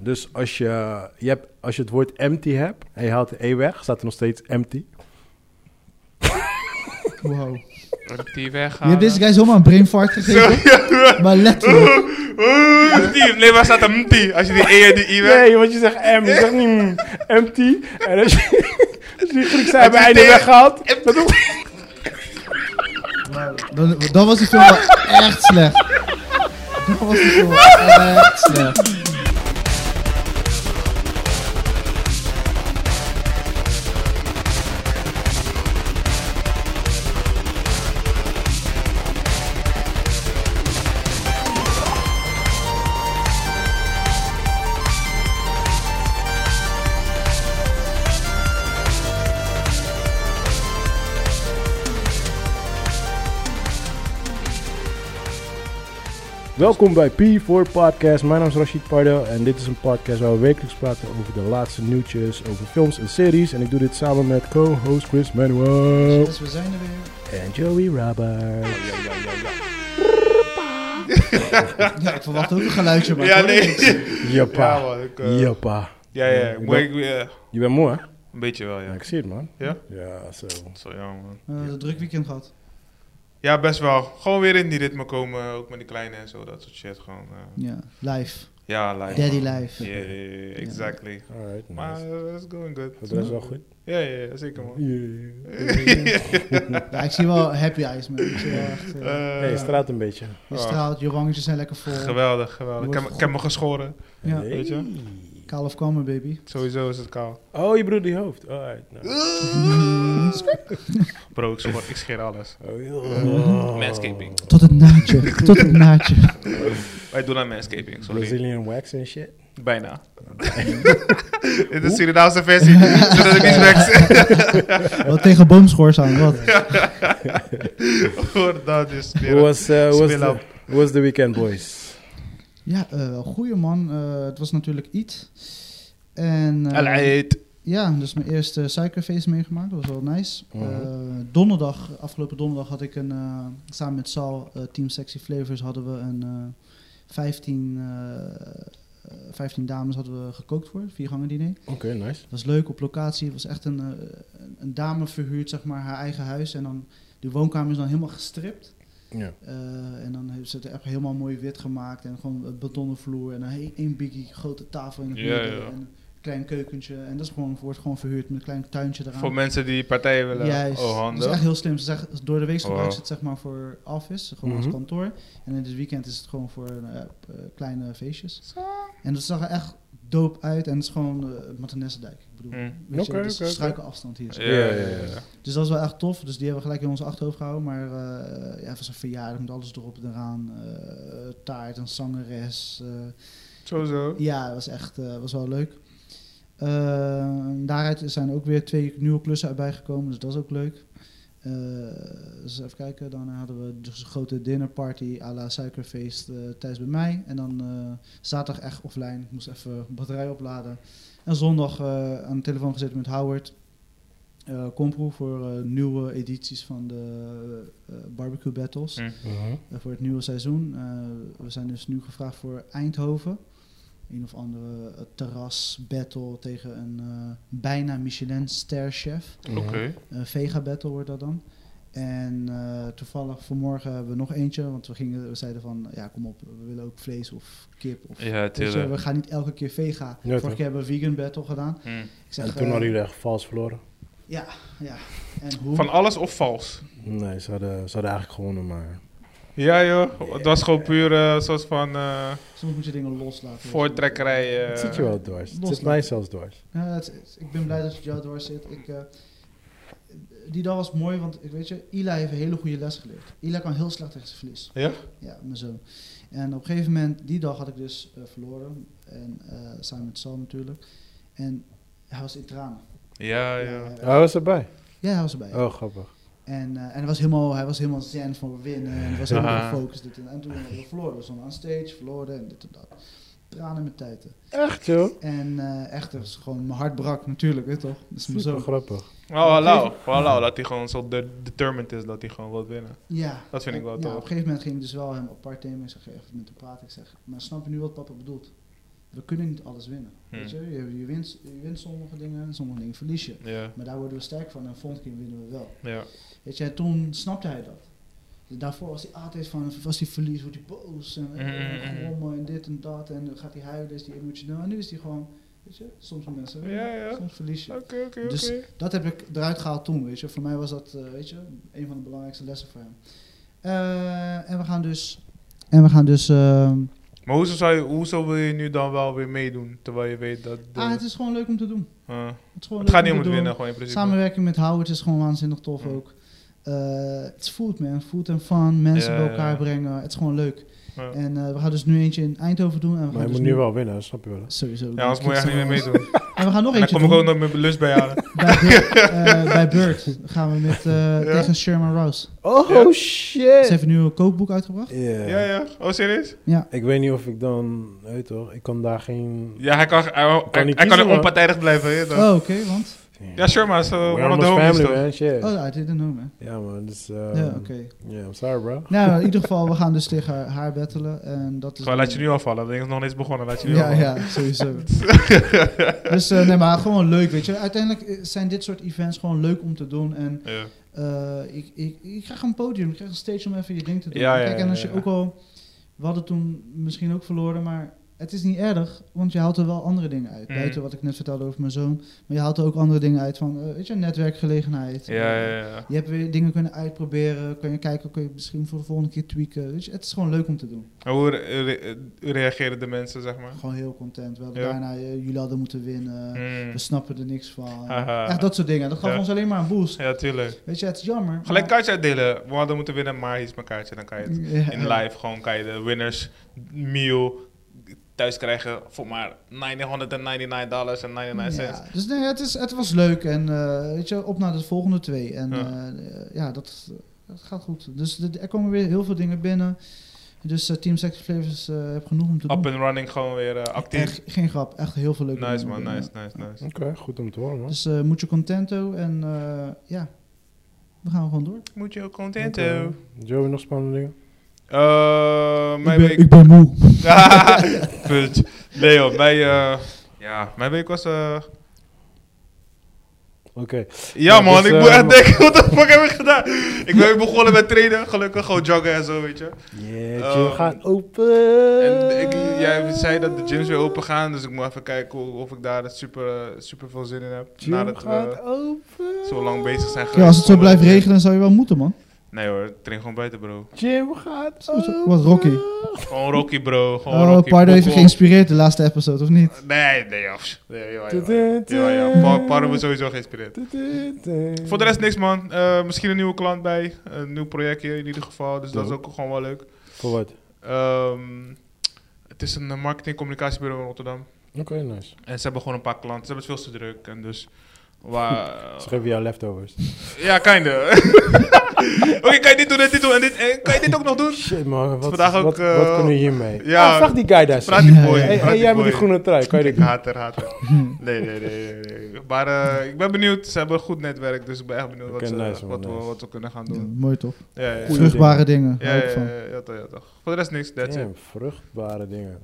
Dus als je, je hebt, als je het woord empty hebt en je haalt de E weg, staat er nog steeds empty. Wow. Die Je hebt weghalen. deze guy zomaar een brain fart gegeven. maar letterlijk. Die- Nee, waar staat een MT? Als je die E en die I weg... Nee, want je zegt M, je zegt niet mm, empty. En als je, als je die Griekse hebben Empty. einde weggehaald, dat doe Dan, dan was die film wel echt slecht. Dan was die film wel echt slecht. Welkom bij P4 Podcast. Mijn naam is Rashid Pardo en dit is een podcast waar we wekelijks praten over de laatste nieuwtjes, over films en series. En ik doe dit samen met co-host Chris Manuel Dus we zijn er weer. en Joey Robert. Ja, ik verwacht ook een geluidje, maar Ja, ik hoor nee. niks. Ja, Ja, Joppa. man. ik, eh, Joppa. Ja, ja. Moet ik... eh, Je bent moe, hè? Een beetje wel, ja. Ja, ik zie het, man. Ja? Ja, zo. Zo jammer, man. we hebben een druk weekend gehad. Ja, best wel. Gewoon weer in die ritme komen. Ook met die kleine en zo. Dat soort shit. Gewoon... eh, Ja, live. ja, live. Daddy man. live. Yeah, yeah, yeah, exactly. Alright, Maar nice. eh, it's going good. Dat is wel goed. Ja, ja, ja, zeker man. Ja, ik zie wel happy eyes, man. Ik zie wel echt... eh, Eh, Nee, je straat een beetje. je straalt, je wangetjes zijn lekker vol. Geweldig, geweldig. Ik heb, ik heb me geschoren. Ja. Hey. Weet Call of Common, baby. Sowieso is het kaal. Oh, je broer die hoofd. Alright. Nou. Bro, ik scheer, ik scheer alles. Oh, joh. Manscaping. Tot het naadje. Tot het naadje. Wij doen aan manscaping, sorry. Brazilian wax en shit. Bijna. Dit is de Surinaamse versie, zodat ik niet weg Wat tegen boomschors aan, wat? Hoor dat is Hoe weer. was, eh, hoe was Spill de- up. hoe was de weekend, boys? Ja, eh, wel goeie man. Eh, het was natuurlijk iets. En... eh, Al-Eid. Ja, dus mijn eerste suikerfeest meegemaakt. Dat was wel nice. Mhm. Eh, donderdag, afgelopen donderdag had ik een... eh, samen met Sal, eh, Team Sexy Flavors, hadden we een... eh 15, eh, eh, 15 dames hadden we gekookt voor. Vier gangen diner. Oké, nice. Het was leuk op locatie. Het was echt een, eh, een- een dame verhuurd, zeg maar, haar eigen huis. En dan, de woonkamer is dan helemaal gestript. Ja. Eh, en dan hebben ze het echt helemaal mooi wit gemaakt. En gewoon een betonnen vloer. En dan he- één biggie, grote tafel in het Ja, midden. ja. En een klein keukentje. En dat is gewoon, wordt gewoon verhuurd met een klein tuintje eraan. Voor mensen die partijen willen. Juist. Oh, Dat is echt handen. heel slim. Ze zeggen, door de week gebruiken Wow. ze het zeg maar voor office, gewoon Mhm. als kantoor. En in het weekend is het gewoon voor eh, eh, kleine feestjes. En dat zag er echt dope uit. En het is gewoon uh, Martinessendijk. Ik bedoel, Mm. weet je, Oké, dus oké, oké. struikenafstand hier. Ja, Ja, ja, ja, ja, ja. ja. Dus dat is wel echt tof. Dus die hebben we gelijk in ons achterhoofd gehouden. Maar eh ja, het was een verjaardag met alles erop en eraan. eh, taart, een zangeres. eh, Zo, zo. ja, dat was echt eh, was wel leuk. Eh, daaruit zijn ook weer twee nieuwe klussen erbij gekomen, dus dat is ook leuk. Eh, dus even kijken, dan hadden we dus een grote dinnerparty à la suikerfeest eh, thuis bij mij. En dan eh, zaterdag echt offline, ik moest even batterij opladen. En zondag eh, aan de telefoon gezeten met Howard. eh Compro voor eh, nieuwe edities van de eh, Barbecue Battles. Mm. Eh, voor het nieuwe seizoen. Eh, we zijn dus nu gevraagd voor Eindhoven. Een of andere eh, terras battle tegen een eh, bijna Michelin ster chef. Oké. Een vega battle wordt dat dan. En eh, toevallig vanmorgen hebben we nog eentje. Want we, gingen, we zeiden van, ja kom op, we willen ook vlees of kip. Of, Ja, Weet je, tuurlijk. we gaan niet elke keer vega. Ja, Vorige toch. keer hebben we vegan battle gedaan. Mm. Ik En zeg, toen eh, hadden jullie echt vals verloren? Ja, ja. En hoe? Van alles of vals? Nee, ze hadden, ze hadden eigenlijk gewonnen, maar... Ja joh, het was gewoon puur eh, soort van eh Soms moet je dingen loslaten. weet je. voortrekkerij. eh. het zit je wel dwars. Het zit loslaten. mij zelfs dwars. Ja, Nou, het- het- ik ben blij dat het jou dwars zit. Ik, eh, die dag was mooi, want ik weet je, Ila heeft een hele goede les geleerd. Ila kan heel slecht tegen zijn verlies. Ja? Ja, mijn zoon. En op een gegeven moment, die dag had ik dus eh, verloren. En eh, samen met Sam natuurlijk. En hij was in tranen. Ja, Ja, ja. hij- Hij was erbij. ja, hij was erbij. Oh, grappig. En, eh, en hij, was helemaal, hij was helemaal zen van winnen. En hij was helemaal Aha. gefocust. Dit en, en toen hebben we verloren. We stonden aan stage, verloren en dit en dat. Tranen met tijden. Echt, joh? En eh, echt, het was gewoon, mijn hart brak natuurlijk, weet je toch? Dat is mijn Super zoon. grappig. Oh, lauw. Wel lauw, dat hij gewoon zo de- determined is dat hij gewoon wil winnen. Ja. Dat vind ik wel ja, tof. Op een gegeven moment ging ik dus wel hem apart nemen. Ik zeg, even met hem praten. Ik zeg, maar snap je nu wat papa bedoelt? we kunnen niet alles winnen. Hmm. Weet je? Je, je wint, je wint sommige dingen en sommige dingen verlies je. Ja, Maar daar worden we sterk van en volgende keer winnen we wel. ja, Weet je, en toen snapte hij dat. Dus daarvoor was hij altijd van, als hij verlies, wordt hij boos en, eh, Mm, mm, en mm. grommen en dit en dat. En dan gaat hij huilen, is hij emotioneel. En nu is hij gewoon, weet je, soms doen mensen winnen, Ja, ja. soms verlies je. oké, oké, Dus- oké. Dat heb ik eruit gehaald toen, weet je. Voor mij was dat, eh, weet je, een van de belangrijkste lessen voor hem. Eh, en we gaan dus, en we gaan dus, ehm, Maar hoezo, zou je, hoezo wil je nu dan wel weer meedoen, terwijl je weet dat... de- ah, het is gewoon leuk om te doen. Ah. Het, is gewoon het leuk gaat niet om te het doen. winnen, gewoon in principe. Samenwerking met Howard is gewoon waanzinnig tof Mm. ook. Eh, Het is food man, food en fun, mensen Ja, bij ja, elkaar ja. brengen. Het is gewoon leuk. Ja. En eh, we gaan dus nu eentje in Eindhoven doen. En we Maar gaan je dus moet nu wel winnen, dat snap je wel. hè? Sowieso. Ja, anders moet je echt niet meer meedoen. En we gaan nog En dan eentje kom ik ook doen. nog mijn lunch bij halen. Bij, Bird, eh, bij Bird gaan we met, eh, tegen Sherman Rouse. Oh Ze Ja. shit! heeft nu een kookboek uitgebracht. Ja. Ja, ja. Oh, serieus? Ik weet niet of ik dan, weet toch, ik kan daar geen. Ja, hij kan, hij, hij- hij niet kan kiezen, hoor. onpartijdig blijven. weet je toch? Oh, oké, want... Ja, sure, maar zo We're one of the almost homies family, toch? man. Shit. Oh, I didn't know, man. Ja, man, dus. eh Ja, Ehm. oké. yeah, I'm sorry, bro. Nou, in ieder geval, we gaan dus tegen haar- haar battelen. En dat is Gewoon, laat je nu afvallen. Dat ding is nog niet eens begonnen. Laat je nu Ja, afvallen. ja, sowieso. dus eh, nee, maar gewoon leuk, weet je. Uiteindelijk eh, zijn dit soort events gewoon leuk om te doen. En Ja. eh, ik, ik, ik krijg een podium, ik krijg een stage om even je ding te doen. Ja, ja, Kijk, en als ja, je ja. ook al... We hadden toen misschien ook verloren, maar het is niet erg. Want je haalt er wel andere dingen uit. Mm. Buiten wat ik net vertelde over mijn zoon. Maar je haalt er ook andere dingen uit van, eh, weet je, netwerkgelegenheid. Ja, ja, ja. Je hebt weer dingen kunnen uitproberen. Kun je kijken, kun je misschien voor de volgende keer tweaken. Weet je, het is gewoon leuk om te doen. En hoe re- re- reageren de mensen, zeg maar? Gewoon heel content. We hadden Ja. bijna, eh, jullie hadden moeten winnen. Hmm. We snappen er niks van. Haha. Echt dat soort dingen. Dat gaf Ja. ons alleen maar een boost. Ja, tuurlijk. Weet je, het is jammer. maar- Gelijk kaartje uitdelen. We hadden moeten winnen, maar hier is mijn kaartje. Dan kan je het Ja. in live gewoon kan je de winners meal thuis krijgen voor maar 999 dollars en 99 cents. Ja, dus nee, het, is, het was leuk. En eh, weet je, op naar de volgende twee. En Ja. ja, ja dat, dat gaat goed. Dus de- er komen weer heel veel dingen binnen. Dus eh, Team Sex Flavors eh, heb genoeg om te doen. Up and running gewoon weer eh, actief. Echt, geen grap. Echt heel veel leuke Nice dingen man, binnen. nice, nice, nice. Oké, goed om te horen, man. Dus eh moet je contento en eh, ja, we gaan gewoon door. Moet je ook content Oké. hebben. Joey, nog spannende dingen? Eh, mijn week. moe. Punt. Nee joh, mijn, eh, ja, mijn week was. eh, Oké. Ja, Ja, man, dus, ik moet eh, echt denken, wat de fuck heb ik gedaan? Ik ben weer begonnen met trainen, gelukkig gewoon joggen en zo, weet je. Yeah, Ehm, Joe gaat open. En ik, jij zei dat de gyms weer open gaan, dus ik moet even kijken hoe- of ik daar super, eh, super veel zin in heb. Joe nadat eh, gaat we open. zo lang bezig zijn geweest. Ja, als het zo om blijft weer- regenen zou je wel moeten man. Nee hoor, ik train gewoon buiten bro. Jim gaat Zo, zo. open. Wat, Rocky? Gewoon Rocky bro, gewoon Oh, Rocky. Pardo heeft je Boekel. geïnspireerd de laatste episode, of niet? Nee, nee joh. Nee, joh, joh, joh. Tudu, tudu. Ja, ja, Pa- Pardo wordt sowieso geïnspireerd. Tudu, tudu. Voor de rest niks man. Eh, misschien een nieuwe klant bij, een nieuw projectje in ieder geval, dus dat is ook gewoon wel leuk. Voor wat? Oké, Ehm, het is een eh, marketing- en communicatiebureau in Rotterdam. nice. En ze hebben gewoon een paar klanten. Ze hebben het veel te druk. En dus... Waar, Schrijf je jouw leftovers. ja, kinda. Oké, kan je dit doen en dit doen en dit... En kan je dit ook nog doen? Shit, man. Wat, Vandaag ook, wat, eh, wat kunnen we hiermee? ja. Oh, vraag die guy daar. Praat die Ja, boy. ja, Hey, praat hey, jij boy. met Ah, die groene trui, kan je Ik dit doen? haat haar, haat haar. Nee, nee, nee. nee, nee. Maar eh, ik ben benieuwd. Ze hebben een goed netwerk. Dus ik ben echt benieuwd Oké, wat, ze, nice, man, wat, we, nice. wat we kunnen gaan Ja, doen. mooi toch? Ja, ja, ja. Goeie Vruchtbare dingen, Ja, hou ik ja, van. ja, ja, toch, ja, toch. Voor de rest niks. That's it. Damn, vruchtbare dingen.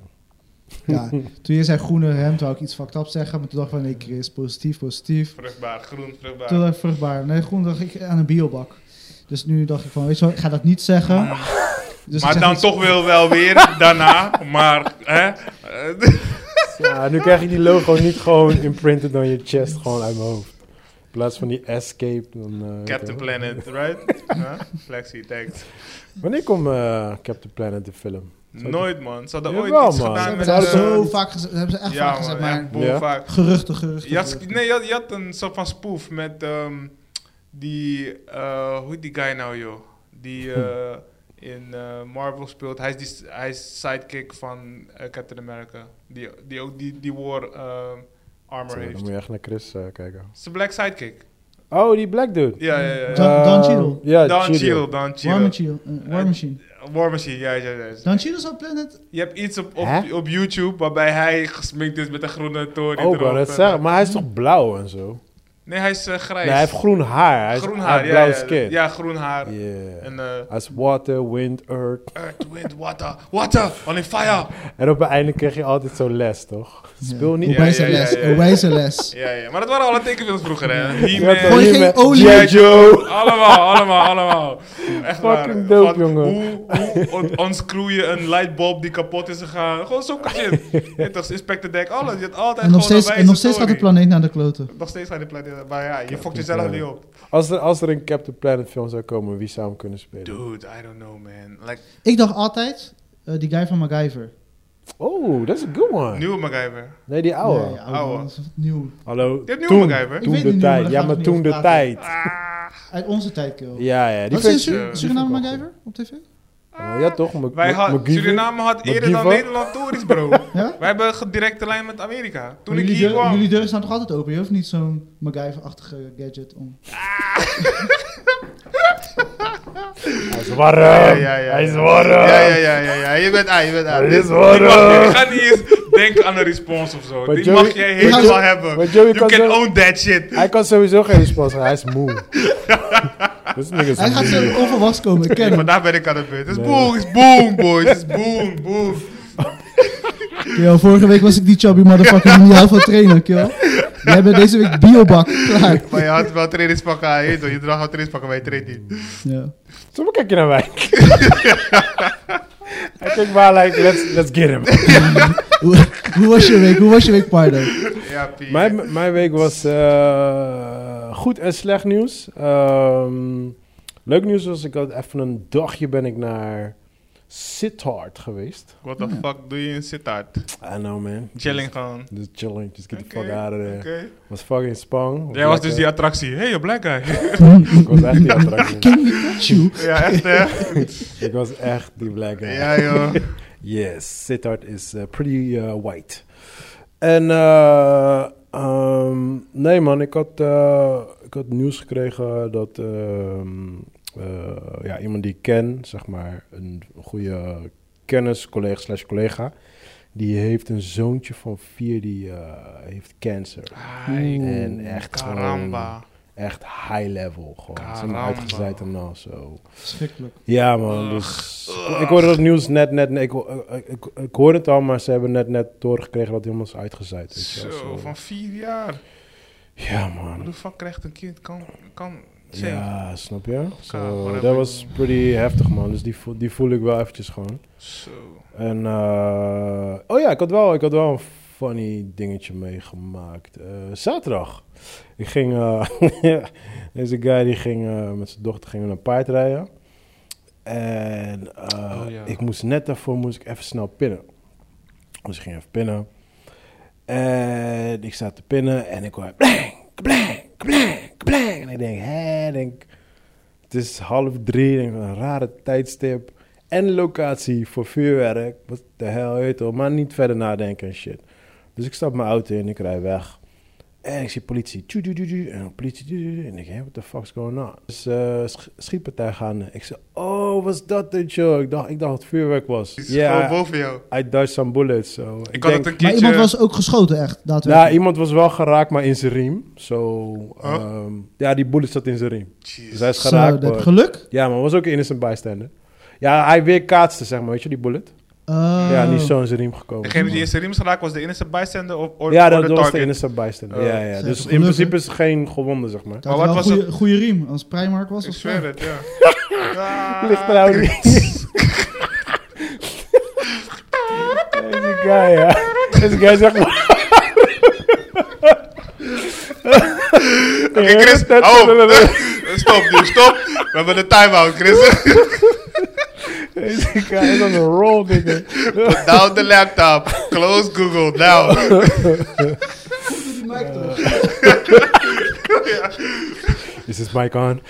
Ja, toen je zei groene hemd, wou ik iets fucked up zeggen, maar toen dacht ik van nee Chris, positief, positief. Vruchtbaar, groen, vruchtbaar. Toen dacht ik vruchtbaar. Nee, groen dacht ik aan een biobak. Dus nu dacht ik van, weet je wel, ik ga dat niet zeggen. Dus ik Mm. maar zeg dan iets- toch wel, wel weer daarna. Maar, hè? Eh, Ja, nu krijg je die logo niet gewoon imprinted dan je chest, gewoon uit mijn hoofd. In plaats van die escape, dan... eh, Captain oké. Planet, right? Huh? Flexie, thanks. Wanneer komt eh, Captain Planet, de film? Nooit, man. Ze hadden Jawel, ooit iets man. Ze gedaan hebben met... Ze daar hadden zo eh, vaak gezegd, hebben ze echt ja, vaak man, gezegd, echt maar boel Ja. vaak. geruchten, geruchten. Je had, geruchten. nee, je had, je had een soort van spoof met ehm, die... eh, hoe heet die guy nou, joh? Die eh, in eh, Marvel speelt. Hij is, die, hij is sidekick van eh, Captain America. Die, die ook die, die war ehm, armor Sorry, dan heeft. moet je echt naar Chris eh, kijken. Het is een black sidekick. Oh, die black dude. Ja, ja, ja. ja. Dan- Eh, Dan Cheadle. Ja, Dan Cheadle, Cheadle. Dan War Cheadle. Machine. eh, War Machine. War Machine, ja, ja, ja. Dan Cheadle zou planet... Je hebt iets op, op, Hè? op Oh, Oh, YouTube waarbij hij gesminkt is met een groene toren. Ook wel, dat zeg, maar hij is toch blauw en zo? Nee, hij is eh, grijs. Nee, hij heeft groen haar. Hij, groen is, haar, hij ja, heeft blauw ja, skin. Ja, groen haar. Yeah. En eh, Hij is water, wind, earth. earth, wind, water, water, on in fire. En op het einde kreeg je altijd zo'n les, toch? Speel niet. Een Ja, wijze ja, ja, les. ja, ja. Een wijze les. Ja, ja, maar dat waren alle tekenfilms vroeger, hè. Je had He-Man. toch Gooi hier geen met olie. G.I. Joe. Allemaal, allemaal, allemaal. Echt waar. Fucking dope, Wat- jongen. Hoe, hoe on- unscrew je een lightbulb die kapot is gegaan? Gewoon zo'n shit. Je hebt toch Inspector Deck, alles. Je had altijd En nog gewoon steeds, een en nog wijze steeds gaat de story. planeet naar de kloten. Nog steeds gaat de planeet. Maar ja, je fokt Captain jezelf Planet. niet op. Als er, als er een Captain Planet film zou komen, wie zou hem kunnen spelen? Dude, I don't know, man. Like, Ik dacht altijd, eh, die guy van MacGyver. Oh, that's a good one. nieuwe MacGyver. Nee, die oude. Nee, Ouwe. dat is Nieuw. Hallo. Je hebt nieuwe Toen, MacGyver. Ik weet toen het de niet, maar tijd. daar Ja, gaan we maar niet toen over de praten. tijd. Ah, Uit onze tijd, kill. Ja, ja. Die Wat is dus- in vind- eh, Sur- die Suriname vind ik wel MacGyver op tv? Oh, ja, toch? Mag- Wij mag- had, MacGyver? Suriname had eerder dan MacGyver? Nederland tories, bro. Ja? Wij hebben een directe lijn met Amerika. Toen Maar ik jullie, hier deur- kwam. jullie deuren staan toch altijd open? Je hoeft niet zo'n MacGyver-achtige gadget om. Hij is warm. Ja, ja, ja, Hij is ja. warm. Ja, ja, ja, ja, ja. Je bent aan, je bent aan. Ah. Dit Dit- is warm. die mag- je gaat niet eens denken aan een respons of zo. Maar die Joey- mag jij maar helemaal Joey- hebben. maar Joey you kan can zo- own that shit. Hij kan sowieso geen respons geven. Hij is moe. Dit nigga is Hij gaat moe. zo onverwacht komen, ik ken hem. Vandaag ben ik aan het punt. Het is Nee. boom, het is boom, boys. Het is boom, boom. Yo, vorige week was ik die chubby motherfucker die niet houdt van trainen, kill. Jij bent deze week biobak, klaar. Maar je had wel trainingspakken aan. Je, weet toch, je draagt wel trainingspakken, maar je traint niet. Ja. Zo maar kijk je naar mij. Hij kijkt maar like, let's, let's get him. Hoe, hoe was je week? Hoe was je week, Pardo? Ja, Pie. Mijn, mijn week was eh, goed en slecht nieuws. Ehm, leuk nieuws was, ik had even een dagje ben ik naar Sittard geweest. What the fuck doe je in Sittard? I know Ah, man. Chilling gewoon. Just chilling, just get the fuck Oké, out of there. oké. Was fucking spang. Jij was dus die attractie. Hey, je black guy. Ik was echt die attractie. King Pikachu. ja, echt hè? ik was echt die black guy. ja, joh. Yes, Sittard is eh, pretty eh, white. En eh, ehm, nee man, ik had, eh, ik had nieuws gekregen dat ehm, eh, ja, iemand die ik ken, zeg maar een goede kennis, collega slash collega, die heeft een zoontje van vier die eh, heeft cancer. En echt gewoon- Caramba. Echt high level gewoon. Zijn Caramba. uitgezaaid en al zo. Schrikkelijk. Ja, man. Dus ik hoorde dat nieuws net, net, nee, ik, ho- ik, ik, ik hoorde het al, maar ze hebben net, net doorgekregen dat hij helemaal is uitgezaaid. Weet je, wel, Zo, van vier jaar. Ja, Hoe man. de fuck krijgt een kind kan... kan ja. Ja, snap je? Zo, whatever. dat was pretty heftig, man. Dus die, vo- die voel ik wel eventjes gewoon. Zo. En, eh, oh ja, ik had, wel, ik had wel een funny dingetje meegemaakt. Eh, zaterdag. Ik ging, eh, deze guy die ging eh, met zijn dochter gingen we naar paard rijden. En eh, Oh ja. ik moest net daarvoor moest ik even snel pinnen. Dus ik ging even pinnen. En ik zat te pinnen en ik hoor blank, blank, blank, blank. En ik denk, hè, ik denk, het is half drie, ik denk, een rare tijdstip. En locatie voor vuurwerk. Wat de hel, weet je wel. Maar niet verder nadenken en shit. Dus ik stap mijn auto in, ik rij weg. En ik zie politie. Tjoe, tjoe, tjoe, tjoe. en dan politie. tjoe, tjoe, tjoe. En ik denk, hé, what the fuck is going on? Dus eh, sch- schietpartij gaande. Ik zeg, oh, was dat dit, joh? Ik dacht, ik dacht dat het vuurwerk was. Die is Ja, gewoon boven jou. I dodged some bullets. So. Ik, had het een Maar keertje... iemand was ook geschoten, echt, Ja, daadwerkelijk. iemand was wel geraakt, maar in zijn riem. Zo, Huh? ehm, ja, die bullet zat in zijn riem. Dus hij Jezus. is Zo, geraakt. dat heb maar- je geluk. ja, maar was ook een innocent bystander. Ja, hij weer kaatste, zeg maar, weet je, die bullet. Oh. Ja, niet zo in zijn riem gekomen. Degene die in zijn riem is geraakt was de innocent bystander of or, ja, or dat the dat was de target? innocent bystander. Oh. ja, Ze ja. hebben Dus in geluk, principe is geen gewonde, zeg maar. Dat Maar had wat wel was een goede riem. Als Primark was, Ik was zweer fijn. het, ja. Ah, Ligt er nou niet. Deze guy, ja. Deze guy zegt maar... Oké, Chris, Oh. hou op. Stop nu, stop. We hebben de time-out, Chris. Deze guy is on a roll, nigga. Put down the laptop. Close Google, now. Eh, Is this mic on?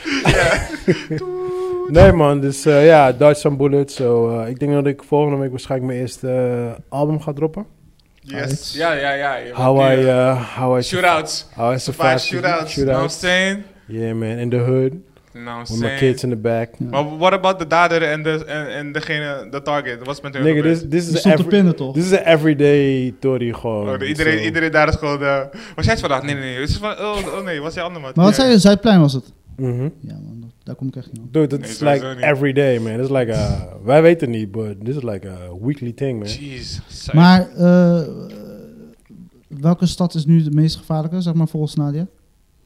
nee man, dus eh, ja, Dodge some bullets. So, eh, ik denk dat ik volgende week waarschijnlijk mijn eerste eh, album ga droppen. Yes. Uit. Ja, ja, ja. je How bent I, hier. eh, how I, Shootouts. how I survived Five shootouts. You know what shootouts. I'm saying? Yeah man, in the hood. You know what I'm With my saying? kids in the back. Maar what about de dader en, de, en, en degene, de target? Wat is met hun Nigga, gebeurd? this, this Je is stond te every, pinnen toch? this is an everyday Tory gewoon. Oh, de- iedereen, So- iedereen daar is gewoon... de was jij het vandaag? Nee, nee, nee. Het is van, oh, oh nee, was jij ander man? Maar wat zei je? Zuidplein was het? Mhm. Ja man, dat- daar kom ik echt niet op. Dude, dat Nee, is sowieso like niet. everyday, man. It's like a, wij weten het niet, but this is like a weekly thing, man. Jeez. zei- Maar eh, welke stad is nu de meest gevaarlijke, zeg maar volgens Nadia?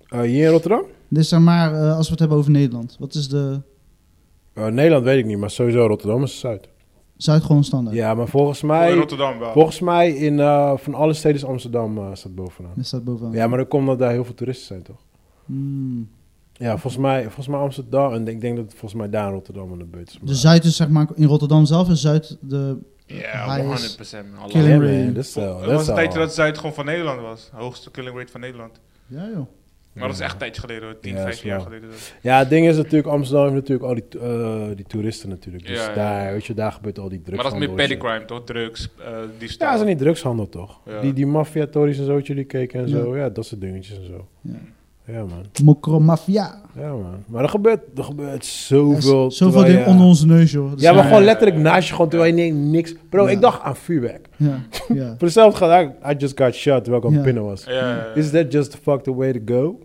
Eh, hier in Rotterdam? Dus zeg maar, eh, als we het hebben over Nederland. Wat is de Eh, Nederland weet ik niet, maar sowieso Rotterdam is Zuid. Zuid gewoon standaard? Ja, maar volgens Oh, in mij, Rotterdam wel. volgens mij in, eh, van alle steden is Amsterdam eh, staat bovenaan. Dat staat bovenaan. Ja, maar dat komt omdat daar heel veel toeristen zijn, toch? Hmm. Ja, volgens mij, volgens mij Amsterdam. En ik denk dat het volgens mij daar in Rotterdam in de buurt is. maar- De Zuid is zeg maar, in Rotterdam zelf is Zuid de... Ja, Hij is- 100%. man. Killing Ja, Allah. man, Ray. dat is wel- Het dat was is een wel- tijdje dat Zuid gewoon van Nederland was. Hoogste killing rate van Nederland. Ja joh. Maar dat is echt een tijdje geleden hoor. 10, Ja, dat is 15 jaar wel- geleden. dus. Ja, het ding is natuurlijk, Amsterdam heeft natuurlijk al die, to- eh, die toeristen natuurlijk. Dus Ja, ja. daar, weet je, daar gebeurt al die drugs. Maar dat is meer petty crime toch? Drugs, eh diefstal. Ja, dat is niet drugshandel, toch? Ja. Die, die maffia-tories en zo, die keken en Ja. zo. Ja, dat soort dingetjes en zo. Ja. Ja, man. Mokro Mafia. Ja, man. Maar er gebeurt, er gebeurt zoveel. Er is Zoveel terwijl dingen je- onder onze neus joh. Dat is Ja, maar waar. gewoon letterlijk naast je, gewoon terwijl je neemt niks. Bro, Ja. ik dacht aan vuurwerk. Ja, ja. Voor hetzelfde geld, I, I just got shot terwijl ik aan Ja. het pinnen was. Ja, ja, ja. Is that just the fuck the way to go?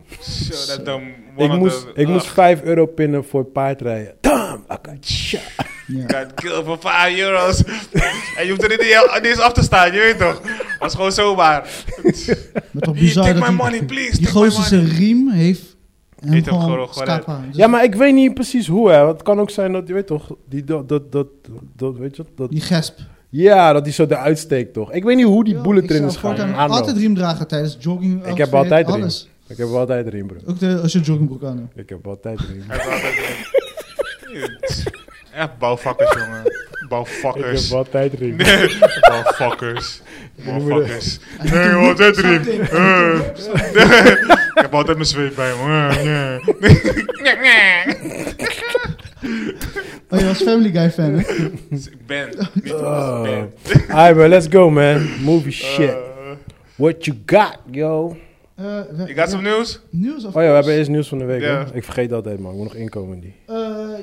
Zo, dat dan Ik one of moest, the- Oh, ik moest Ugh, 5 euro pinnen voor paardrijden. Damn, I got shot. ja. ik had kill voor 5 euro's. en je hoeft er niet, heel- niet eens af te staan, je weet toch? Was gewoon zomaar. Maar toch Hier, bizar take dat my die- money, please. Die take my gozer zijn money. riem heeft hem Heeft hem gewoon, gewoon gered. scapa. Dus Ja, maar ik weet niet precies hoe, hè. Want Het kan ook zijn dat, je weet toch, die, dat, dat, dat, dat, weet je, dat, Die gesp. ja, dat die zo eruit steekt, toch? Ik weet niet hoe die Ja, bullet ik erin zou is gegaan. voortaan Aan altijd wel. riem dragen tijdens jogging. heb outfit, altijd riem. alles. Ik heb altijd erin, bro. Ook de, als je een joggingbroek aan hebt. Ik heb altijd erin. Hij was altijd- Echt bouwvakkers, jongen. Ik Bouwvakkers. heb altijd erin. Motherfuckers. Motherfuckers. Nee, ik heb altijd erin. Eh. Ik heb altijd mijn zweep bij me. Eh, nee. Oh, je was Family Guy fan, hè? Dus Ik ben. Niet Oh. ik ben. Alright, bro, let's go, man. Movie shit. Eh, What you got, yo? Eh, we- Ik had some nieuws. nieuws of Oh ja, we hebben eerst nieuws van de week, Ja. hè? Ik vergeet altijd, man. Ik moet nog inkomen in die. Eh,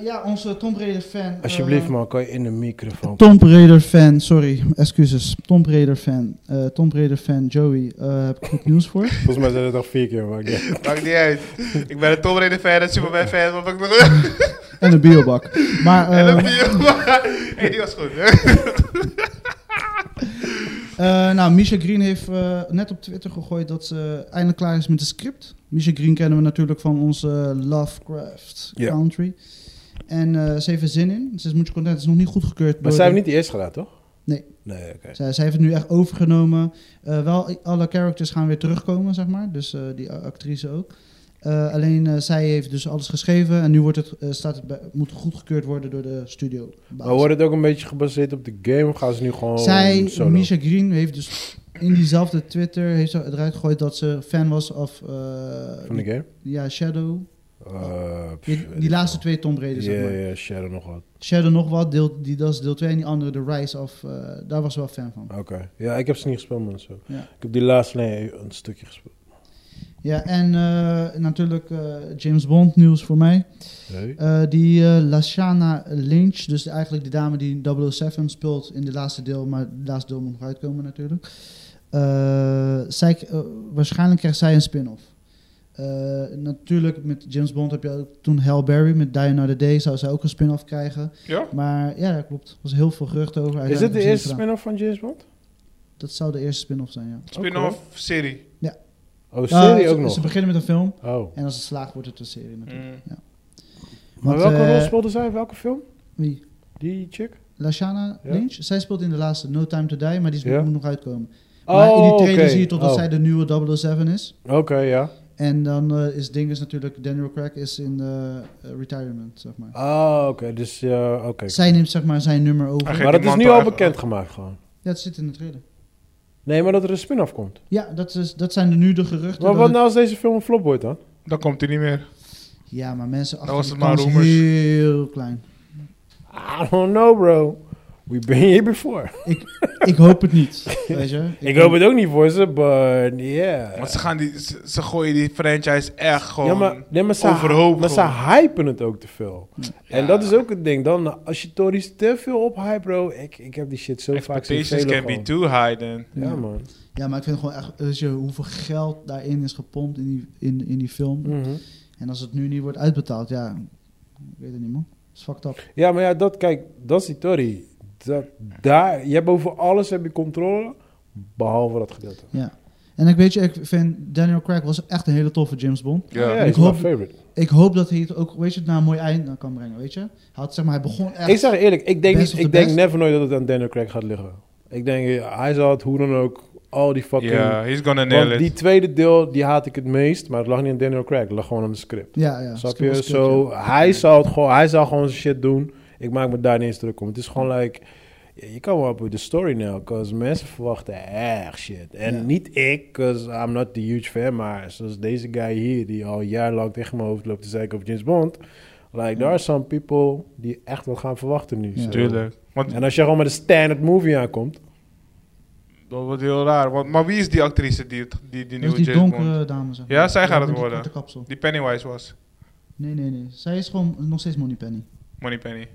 ja, onze Tomb Raider fan. Alsjeblieft, eh, man. Kan je in de microfoon... Tomb Raider fan, sorry, excuses. Tomb Raider fan, eh Tomb Raider fan Joey, eh, heb ik goed nieuws voor. Volgens mij zijn het nog vier keer, maar... ik- Maakt niet uit. Ik ben een Tom Raider fan, een Superman fan. Wat ik nog? En een biobak. Maar En een eh, bier. Hé, die was goed. hè? eh, nou, Misha Green heeft eh, net op Twitter gegooid dat ze eindelijk klaar is met de script. Misha Green kennen we natuurlijk van onze Lovecraft Ja. Country. En eh, ze heeft er zin in. Ze is moet je content, het is nog niet goedgekeurd. Maar door zij de- heeft niet die eerste gedaan, toch? Nee. Nee, oké. Zij, zij heeft het nu echt overgenomen. Eh, wel, i- alle characters gaan weer terugkomen, zeg maar. Dus eh, die a- actrice ook. Eh, alleen eh, zij heeft dus alles geschreven. En nu wordt het, eh, staat het bij, moet goedgekeurd worden door de studio. Maar wordt het ook een beetje gebaseerd op de game? Of gaan ze nu gewoon zij, Oh, solo? Misha Green, heeft dus in diezelfde Twitter heeft ze eruit gegooid dat ze fan was of eh, Van de game? ja, Shadow. Eh, pff, Die, weet die ik laatste wel. twee Tomb Raider, zeg Ja, maar. ja, Shadow nog wat. Shadow nog wat, deel, die, dat is deel 2. En die andere, The Rise of, eh, daar was ze wel fan van. Oké. Ja, ik heb ze niet gespeeld, man. Zo. Ja. Ik heb die laatste nee, een stukje gespeeld. Ja, en eh, natuurlijk eh, James Bond nieuws voor mij. Nee? Eh, die eh, Lashana Lynch, dus eigenlijk de dame die 007 speelt in de laatste deel, maar het laatste deel moet nog uitkomen natuurlijk. Eh, zij, eh, waarschijnlijk krijgt zij een spin-off. Eh, natuurlijk, met James Bond heb je ook toen Halle Berry met Die Another Day, zou zij ook een spin-off krijgen. Ja? Maar ja, dat klopt. Er was heel veel gerucht over. Is dit Uiteindelijk de ze niet eerste gedaan. spin-off van James Bond? Dat zou de eerste spin-off zijn, ja. Spin-off serie. Oh, serie Eh, ook ze, nog? Ze beginnen met een film Oh. en als het slaagt wordt het een serie natuurlijk. Mm. Maar Want, welke eh, rol speelde zij? in Welke film? Wie? Die chick? Lashana Mm. Ja. Lynch, zij speelt in de laatste No Time To Die, maar die is- Ja. moet nog uitkomen. maar in die trailer oké. zie je toch dat Oh. zij de nieuwe 007 is. Oké, ja. En dan eh, is ding is natuurlijk, Daniel Craig is in eh, eh, retirement, zeg maar. Ah, oké. Dus, ja, oké. Zij neemt zeg maar zijn nummer over. Hij geeft- Maar dat die is mantel nu al even- bekendgemaakt gewoon. Ja, dat zit in de trailer. Nee, maar dat er een spin-off komt. Ja, dat, is, dat zijn de nu de geruchten. Maar dat wat het- nou als deze film een flop wordt dan? Dan komt hij niet meer. nou? Ja, maar mensen achter was de het maar kans rumors. heel klein. I don't know, bro. We've been here before. Ik hoop het niet, weet je. Ik hoop het ook niet voor ze, but yeah. Want ze, gaan die, ze, ze gooien die franchise echt gewoon... Ja, maar, nee, maar, ze, overhoop maar ze gewoon. hypen het ook te veel. En Ja. dat is ook het ding. Dan, als je Tories te veel ophype, bro. Ik, ik heb die shit zo vaak zien Expectations velen can be gewoon. too high then. Ja, man. Ja, maar ik vind gewoon echt, weet je, hoeveel geld daarin is gepompt in die, in, in die film. Mhm. En als het nu niet wordt uitbetaald, ja, ik weet het niet man. Dat is fucked up. Ja, maar ja, dat, kijk, dat is die Tory. Dat, daar, je hebt over alles heb je controle, behalve dat gedeelte. Ja. En ik weet je, ik vind Daniel Craig was echt een hele toffe James Bond. Ja, Ja. is ik mijn hoop- favorite. Ik hoop dat hij het ook, weet je, naar een mooi einde kan brengen, weet je. Hij had, zeg maar, hij begon echt... Ik zeg je eerlijk, ik denk, Best niet, of the ik denk best. never nooit dat het aan Daniel Craig gaat liggen. Ik denk, eh, hij zal het hoe dan ook, al die fucking... Yeah, he's gonna nail want die it. tweede deel, die haat ik het meest, maar het lag niet aan Daniel Craig, het lag gewoon aan de script. Ja, ja. Snap script je? was script, Zo, hij zal het gewoon, hij zal gewoon zijn shit doen. Ik maak me daar niet eens druk om. Het is gewoon like, je kan wel op de story now, cause mensen verwachten echt shit. En Ja. niet ik, cause I'm not the huge fan, maar zoals deze guy hier, die al een jaar lang tegen mijn hoofd loopt te zeiken over James Bond. Like, there are some people die echt wat gaan verwachten nu. Ja. zo. Tuurlijk. Want En als je gewoon met een standard movie aankomt. dat wordt heel raar. Want, maar wie is die actrice die, het- die, Dat die nieuwe is die James Bond? donkere dame, zeg Ja, zij gaat het met die worden. korte kapsel. Die Pennywise was. Nee, nee, nee. Zij is gewoon nog steeds Moneypenny. Moneypenny.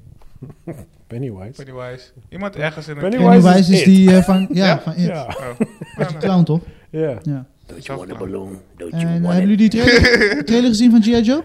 Pennywise. Pennywise. Iemand ergens in een... Pennywise Pennywise, is is, It. die eh, van, ja, Ja? van It. Ja, Oh. Dat is Ja, Eh, een nee. clown, toch? ja. Ja. Don't you want a balloon? Don't you En eh, want hebben it? jullie die trailer, trailer gezien van G.I. Joe?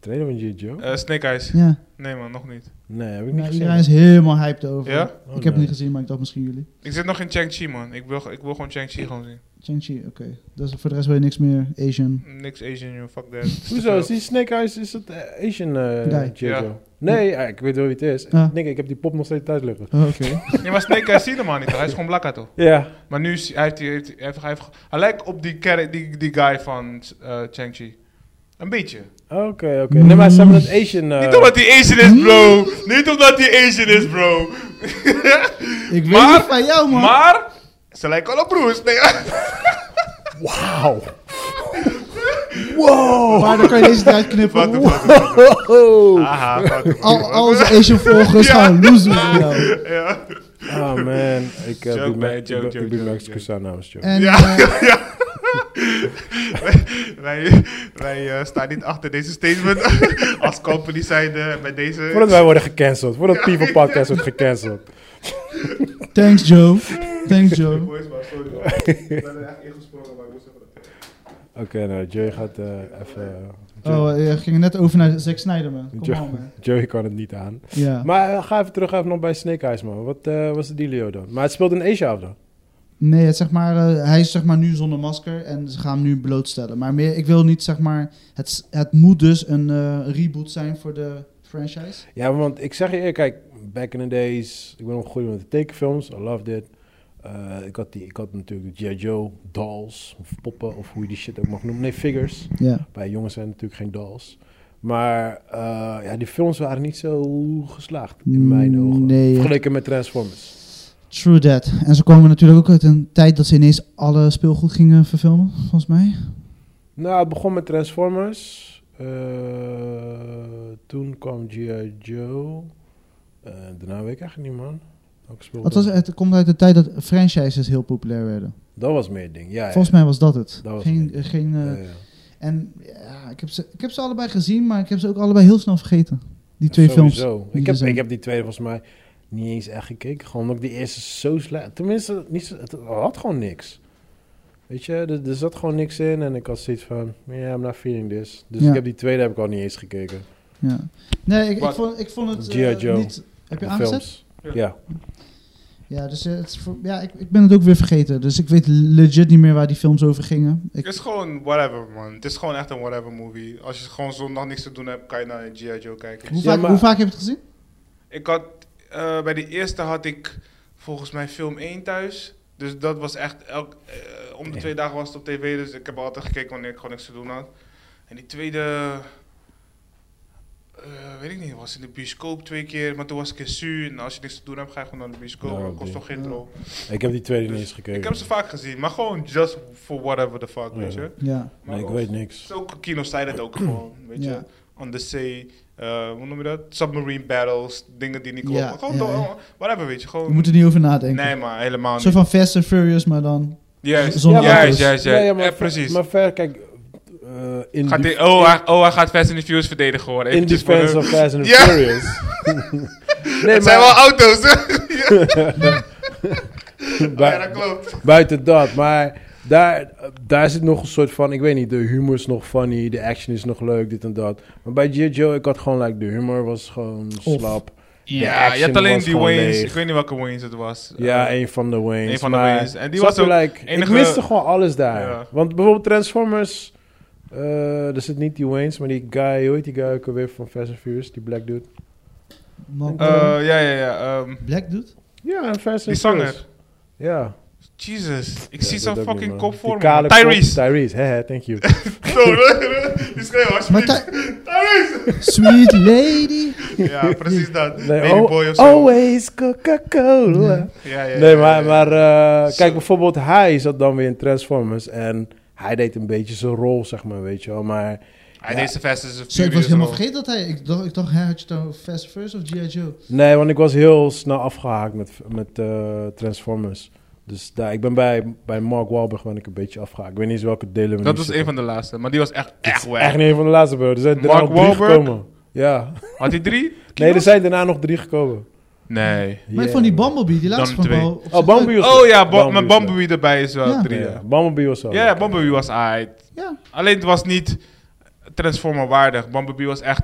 Trainer van G.I. Joe? Eh, Snake Eyes. Ja. Nee man, nog niet. Nee, heb ik niet Nou, gezien. iedereen is helemaal hyped over. Ja? Ik Oh, heb nee. het niet gezien, maar ik dacht misschien jullie. Ik zit nog in Chang-Chi man. Ik wil, ik wil gewoon Chang-Chi gewoon zien. Chang-Chi, oké. Dus voor de rest weet je niks meer. Asian. Niks Asian, joh, fuck that. Is te Hoezo? veel. Is die Snake Eyes is dat eh, Asian eh Nee. Ah. Jojo? Ja. Nee, eh, ik weet wel wie het is. Ja. Ik denk, ik heb die pop nog steeds thuis liggen. Oh, oké. Nee, maar Snake Eyes zie je helemaal niet. toch? Hij is gewoon blakka toch? Ja. Maar nu is, hij heeft, hij heeft, hij heeft, hij heeft- hij lijkt op die, chara- die, die guy van eh Chang-Chi. Een beetje. Oké, oké. Nee, maar ze hebben het Asian... eh, Niet omdat hij Asian is, bro. Niet omdat hij Asian is, bro. Ik weet Maar- niet van jou, man. Maar ze lijken wel op broers. Nee, Wauw. wow. Maar dan kan je deze eruit wat knippen. de Oeh, fuck. Oh. Haha, wat de fuck. Al, al onze Asian volgers Ja. gaan loezen voor jou. Ja. Ah, man. Ik eh, Joke, doe man. me- ik Joke, doe- ik joke, doe joke, mijn excuus aan namens Joe. En Ja, eh, ja. wij wij eh, staan niet achter deze statement. Als company zijnde bij deze. Voordat wij worden gecanceld. Voordat People Podcast wordt gecanceld. thanks, Joe. Thanks, Joe. Boys, maar sorry man. Ik ben er echt ingesprongen, maar ik moest even dat zeggen. Oké, nou, Joe gaat eh, even... Joe, Oh, eh, je ging net over naar Zack Snyder, man. Kom Joe, on, man. Joe kan het niet aan. Ja. Maar eh, ga even terug even nog bij Snake Eyes, man. Wat eh, was de dealio dan? Maar het speelt in Asia af dan? Nee, het, zeg maar, eh, hij is zeg maar, nu zonder masker en ze gaan hem nu blootstellen. Maar meer, ik wil niet, zeg maar, het, s- het moet dus een eh, reboot zijn voor de franchise. Ja, want ik zeg je eerlijk, kijk, back in the days, ik ben opgegroeid met de tekenfilms, I loved it. Eh, ik, had die, ik had natuurlijk de G.I. Joe dolls, of poppen, of hoe je die shit ook mag noemen. Nee, figures. Ja. Bij jongens zijn natuurlijk geen dolls. Maar eh, ja, die films waren niet zo geslaagd, in mijn ogen. Mm, Nee. Vergeleken met Transformers. True that. En ze komen natuurlijk ook uit een tijd dat ze ineens alle speelgoed gingen verfilmen, volgens mij. Nou, het begon met Transformers. Eh, toen kwam G.I. Joe. Eh, daarna weet ik eigenlijk niet, man. Welke speelde Het, was, het komt uit de tijd dat franchises heel populair werden. Dat was meer het ding, Ah, ja. ja. Volgens mij was dat het. Dat was geen, het. geen, eh, Ja, ja. En ja, ik heb, ze, ik heb ze allebei gezien, maar ik heb ze ook allebei heel snel vergeten. Die twee films. Sowieso. die Ik er heb, zijn. ik heb die tweede volgens mij niet eens echt gekeken. Gewoon omdat ik die eerste zo slecht... Tenminste, niet zo- het had gewoon niks. Weet je, er, er zat gewoon niks in. En ik had zoiets van, yeah, I'm not feeling this. Dus Ja. ik heb die tweede heb ik al niet eens gekeken. Ja. Nee, ik, ik, Wat? vond, ik vond het G.I. eh, Joe. niet... Heb je De aangezet? films. Ja. Ja. Ja, dus eh, het is voor- ja, ik, ik ben het ook weer vergeten. Dus ik weet legit niet meer waar die films over gingen. Ik, Het is gewoon whatever, man. Het is gewoon echt een whatever movie. Als je gewoon zondag niks te doen hebt, kan je naar G.I. Joe kijken. hoe, Ja, vaak, maar- hoe vaak heb je het gezien? Ik had, eh, bij de eerste had ik volgens mij film 1 thuis. Dus dat was echt, elk, eh, om de twee dagen was het op tv. Dus ik heb altijd gekeken wanneer ik gewoon niks te doen had. En die tweede, eh, weet ik niet, was in de bioscoop twee keer. Maar toen was ik in Su. En als je niks te doen hebt, ga je gewoon naar de bioscoop. Nou, Ja, dat kost die- toch geen Ja. rol. Ik heb die tweede niet Dus eens gekeken. Ik heb ze vaak gezien, maar gewoon just for whatever the fuck, Ja. weet je. Ja. Maar Nee, ik ook- weet niks. Zulke kinos zijn het ook gewoon, weet je. Ja. on the sea. eh, hoe noem je dat? Submarine battles, dingen die Ja, niet kloppen. gewoon, ja, door- ja. whatever, weet je. Je Gewoon, moet er niet over nadenken. nee, maar helemaal Een niet. soort van Fast and Furious, maar dan... Juist, zonder juist, auto's. juist, Ja, juist. ja, maar Ja, ver- precies. Maar ver, kijk... eh, in Gaat de- hij- oh, hij, oh, hij gaat Fast and the Furious verdedigen hoor. in Eventjes voor defense hem. of Fast and the Ja. Furious. nee, Het zijn wel maar auto's. ja, bui- ja, dat klopt. buiten dat. Maar daar, daar zit nog een soort van... Ik weet niet, de humor is nog funny. De action is nog leuk, dit en dat. Maar bij G.I. Joe, ik had gewoon... Like, de humor was gewoon Of. slap. De Ja, je action had alleen was die gewoon Wayne's. leeg. Ik weet niet welke Wayne's het was. Ja, Eh, een van de Wayne's. een van de maar- Wayne's. En die Snap was je, ook like, enige- Ik miste gewoon alles daar. Ja. Want bijvoorbeeld Transformers... eh er zit niet die Wayne's, maar die guy... Hoe heet die guy ook alweer van Fast and Furious? Die black dude. Malcolm eh, ja, ja, ja. ehm, Black doet? Ja, en Fast and die zanger. Furious. Ja. Jesus, ik Ja, zie dat zo'n ook niet, fucking man. kop Die voor me. kale kop, Tyrese. Tyrese, hè, thank you. Zo, die schreeuw Maar alsjeblieft. Ty- Tyrese! Sweet Lady. Ja, precies dat. Nee, oh, Babyboy of zo. always Coca-Cola. Nee. Ja, ja, ja, Nee, ja, maar, ja. maar eh, Zo. kijk, bijvoorbeeld hij zat dan weer in Transformers en hij deed een beetje zijn rol, zeg maar, weet je wel. Maar Hij deed zijn Fast and the Zo, ik was Furious helemaal al. vergeten dat hij... Ik dacht, ik dacht hij had je dan over Fast First of G.I. Joe. nee, want ik was heel snel afgehaakt met, met eh, Transformers. Dus daar, ik ben bij, bij Mark Wahlberg ben ik een beetje afgehaakt. Ik weet niet eens welke delen we Dat nu was een zitten. van de laatste, maar die was echt, Dit echt is wack. Echt niet een van de laatste, bro. Er zijn daarna Mark nog drie Wahlberg? gekomen. Ja. Had hij drie? Nee, er kilo's? zijn daarna nog drie gekomen. Nee. Maar Yeah. ik vond die Bumblebee, die laatste van Dan twee. wel... op zich Oh, Bumblebee leuk. was Oh leuk. ja, Bo- maar was leuk. Bumblebee erbij is wel Ja. drie. Ja, Ja, Bumblebee was zo. ja Bumblebee was aight. Ja. Alleen het was niet Transformer waardig. Bumblebee was echt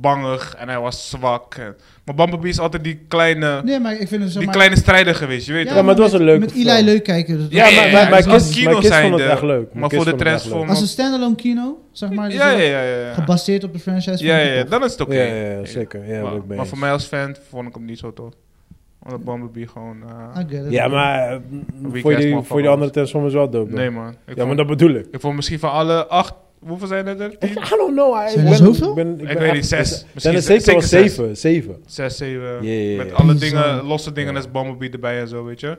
bangig en hij was zwak. En- Maar Bumblebee is altijd die kleine, Nee, maar ik vind het zo... die kleine strijder geweest, je weet Ja, toch? maar het was met- een leuke Met film. Eli leuk kijken. dus- Ja, Ja, maar, ja, maar, ja, mijn dus als kids, mijn kino kids zijn vonden het de- echt leuk. Mijn maar kids voor de vonden het echt Transformers- Als een standalone kino, zeg maar. dus Ja, ja, wel ja. ja, ja. Gebaseerd op de franchise. Ja, van ja, ja, Hip Hop. dan is het oké. leuk. Ja, ja, ja, zeker. Ja, ben ik maar, mee maar eens. voor mij als fan vond ik hem niet zo tof. Omdat Bumblebee gewoon... eh, I get it. Ja, maar eh, voor Cast die, Man voor die van andere Transformers wel dope. nee Nee, man. Ik, ja, maar vond, dat bedoel ik. ik vond misschien van alle acht... Hoeveel zijn er er? Ik Tien? I don't know. I- Zijn ik ben, er zoveel? Ik, ben, ik, Ik ben weet echt- niet, zes. er Misschien zijn er zes- zeker wel zeker zes. zeven. Zeven. Zes, zeven. Ja, ja, ja, Met ja. alle Bizar. dingen, losse dingen Ja. als Bumblebee erbij en zo, weet je.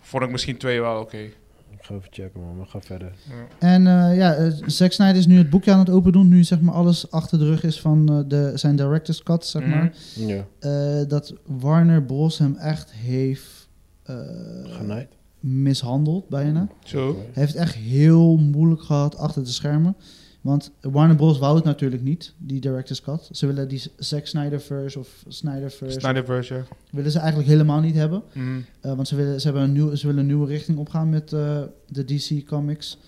Vond ik misschien twee wel oké. Ik ga even checken, man. We gaan verder. En eh, ja, eh, Zack Snyder is nu het boekje aan het open doen. Nu zeg maar alles achter de rug is van eh, de, zijn director's cut, zeg Mhm. maar. Ja. Eh, dat Warner Bros hem echt heeft eh, Genaaid. mishandeld, bijna. Zo. Hij heeft het echt heel moeilijk gehad achter de schermen. Want Warner Bros. wou het natuurlijk niet, die director's cut. Ze willen die Zack Snyderverse of Dus Snyderverse... Snyderverse, ja. willen ze eigenlijk helemaal niet hebben. Mhm. Eh, want ze willen, ze, hebben een nieuw, ze willen een nieuwe richting opgaan met eh, de DC Comics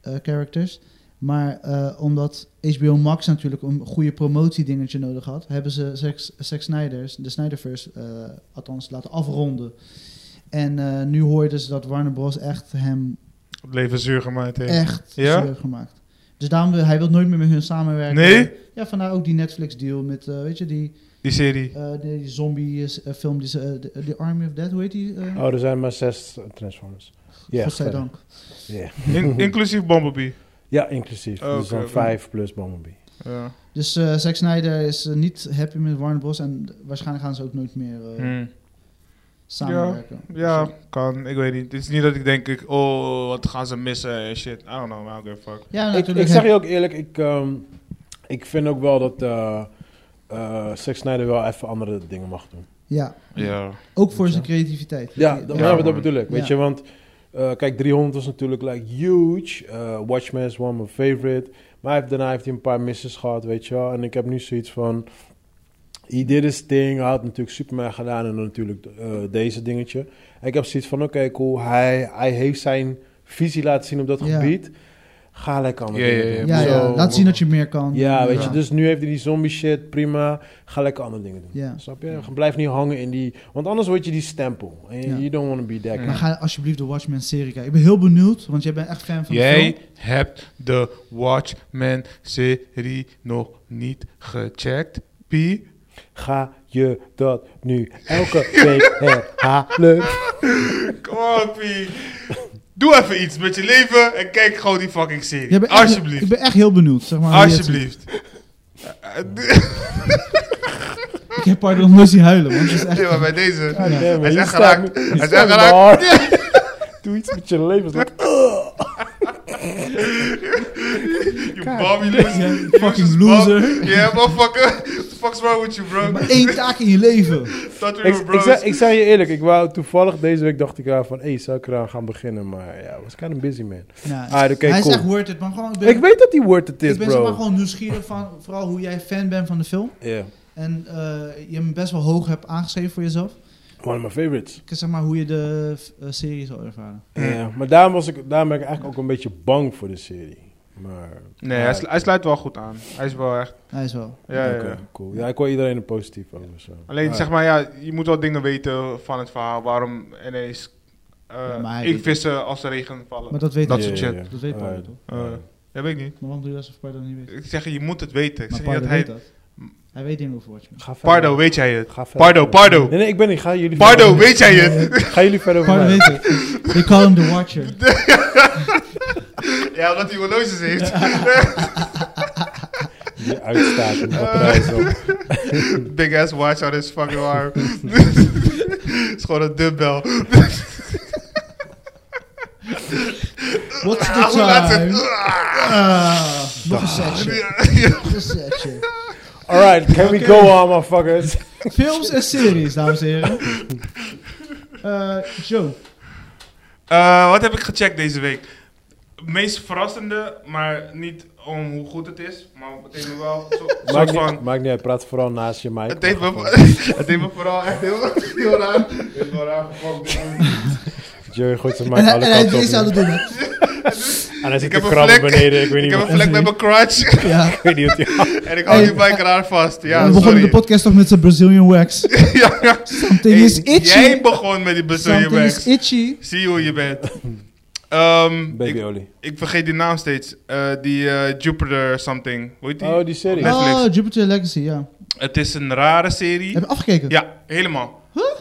eh, characters. Maar eh, omdat HBO Max natuurlijk een goede promotiedingetje nodig had, hebben ze Zack, Zack Snyder's, de Snyderverse, eh, althans laten afronden. En eh, nu hoorden ze dat Warner Bros. echt hem Het leven zuur gemaakt heeft. echt Ja? zuur gemaakt. Dus daarom wil, hij wil nooit meer met hun samenwerken. Nee? Ja, vandaar ook die Netflix deal met, eh, weet je, die, Die serie. eh, die zombie eh, film, die, ze, eh, de- de Army of Dead, hoe heet die? eh? Oh, er zijn maar zes eh, Transformers. Ja, eh. verder. Godzijdank. Ja. In- inclusief Bumblebee. Ja, inclusief. Oké, dus dan Oh, oké. vijf plus Bumblebee. Ja. Dus eh Zack Snyder is eh, niet happy met Warner Bros. En waarschijnlijk gaan ze ook nooit meer eh, Mhm. samenwerken. Ja, Dus, kan. Ik weet niet. Het is niet dat ik denk, ik, oh, wat gaan ze missen en shit. I don't know, I don't give a fuck. ja, ik, natuurlijk. ik zeg je ook eerlijk, ik, ehm, ik vind ook wel dat eh eh Zack Snyder wel even andere dingen mag doen. ja, Ja. ook voor zijn creativiteit. Ja, dat, Ja, maar dat man. bedoel ik. Weet Ja. je, want eh, kijk, 300 was natuurlijk like huge. Eh, Watchmen is one of my favorite. Maar hij heeft, daarna heeft hij een paar misses gehad, weet je wel. En ik heb nu zoiets van... He did his thing. Hij had natuurlijk Superman gedaan en dan natuurlijk eh, deze dingetje. En ik heb zoiets van, oké, cool. Hij, hij heeft zijn visie laten zien op dat Ja. gebied. Ga lekker andere Ja, ja, dingen ja, doen. ja, ja. Zo. laat zien dat je meer kan. Ja, weet je, dus nu heeft hij die zombie shit, prima. Ga lekker andere dingen doen. Ja. Snap je? Blijf niet hangen in die... Want anders word je die stempel. En Ja. you don't want to be that guy. Maar ga alsjeblieft de Watchmen-serie kijken. Ik ben heel benieuwd, want jij bent echt fan van de film. Jij hebt de Watchmen-serie nog niet gecheckt, Pie. Ga je dat nu elke week herhalen? Kom op, Pie. Doe even iets met je leven en kijk gewoon die fucking Jij serie. bent echt- Alsjeblieft. Ik ben Oh, echt heel benieuwd. Zeg maar, Alsjeblieft. Ik heb Pardon nog nooit zien huilen, want het is echt... Ja, maar Oh, bij deze. Ja. Nee, maar Hij is je echt staat geraakt. me- je Hij is staat echt me geraakt. hard. Doe iets met je leven. you Bobby Ja, loser. You loser's fucking bum. loser. Yeah, motherfucker. What the fuck's wrong with you, bro? Maar één taak in je leven. Thought we Ik, were ik, bros. zei, ik zei je eerlijk, ik wou toevallig deze week dacht ik aan van, hé, hey, zou ik eraan gaan beginnen? Maar ja, was kind of busy, man. Nou, Ah, oké, hij cool. is echt worth it, maar gewoon... Ik ben, Ik weet dat die word het is, ik ben zeg maar bro. gewoon nieuwsgierig van vooral hoe jij fan bent van de film. Ja, En eh, je hem best wel hoog hebt aangeschreven voor jezelf. one of my favorites. Ik zeg maar hoe je de eh, serie zal ervaren. Ja, maar daarom, was ik, daarom ben ik eigenlijk ook een beetje bang voor de serie. Maar, Nee, ja, hij, slu- oké. hij sluit wel goed aan. Hij is wel echt... Hij is wel. Ja, ja, Oké, ja. cool. Ja, ik hoor iedereen er positief over. Zo. Alleen Ah, zeg maar, ja, je moet wel dingen weten van het verhaal. Waarom ineens eh Ja, maar hij weet- inktvissen als de regen vallen. Maar dat weet Dat ik. soort shit. Dat weet Pardo Ah, toch? Eh, dat weet ik niet. Maar waarom doe je dat als Pardo niet weet? Ik zeg je, je moet het weten. Ik Maar zeg Pardo niet dat hij... weet dat. Hij weet dingen over Watchmen. ga verder. Pardo, weet jij het? Ga verder. Pardo, Pardo. Nee, nee, ik ben niet. Ga jullie Pardo, verder- weet jij het? Ga jullie verder over Pardo mij. weet het. They call him the Watcher. Ja, omdat hij horloges heeft. Die uitstaat en Ah. batterij zo. Big ass watch on his fucking arm. is gewoon een dumbbell. What's the Ah, hoe laat is het? time? Ah, nog een setje. Nog een setje. Alright, can we go on, motherfuckers? Films en series, dames en heren. Eh, Joe. Eh, wat heb ik gecheckt deze week? meest verrassende, maar niet om hoe goed het is. Maar het heeft me wel zo, soort Maakt niet, van... maakt niet uit, praat vooral naast je mic. Het deed, me, het deed me vooral echt heel, heel raar. Heel raar gefokt. Joey gooit zijn mic En, hij- alle en hij kanten op. is aan het doen. hè? En hij zit Ik te heb een krabben vlek. beneden, ik weet Ik niet heb wat. een vlek met mijn crutch. Ja. Ik weet niet wat hij En ik hou die bike raar vast. Ja, We begonnen de sorry. podcast toch met zijn Brazilian wax. Ja, ja. Something is Hey, itchy. Jij begon met die Brazilian Something wax. is itchy. Zie hoe je bent. Ehm, ik, Babyolie. ik vergeet die naam steeds. Eh, die eh, Jupiter something. Hoe heet die? Oh, die serie. Net- Netflix. Oh, Jupiter Legacy, ja. Het is een rare serie. Heb je afgekeken? Ja, helemaal.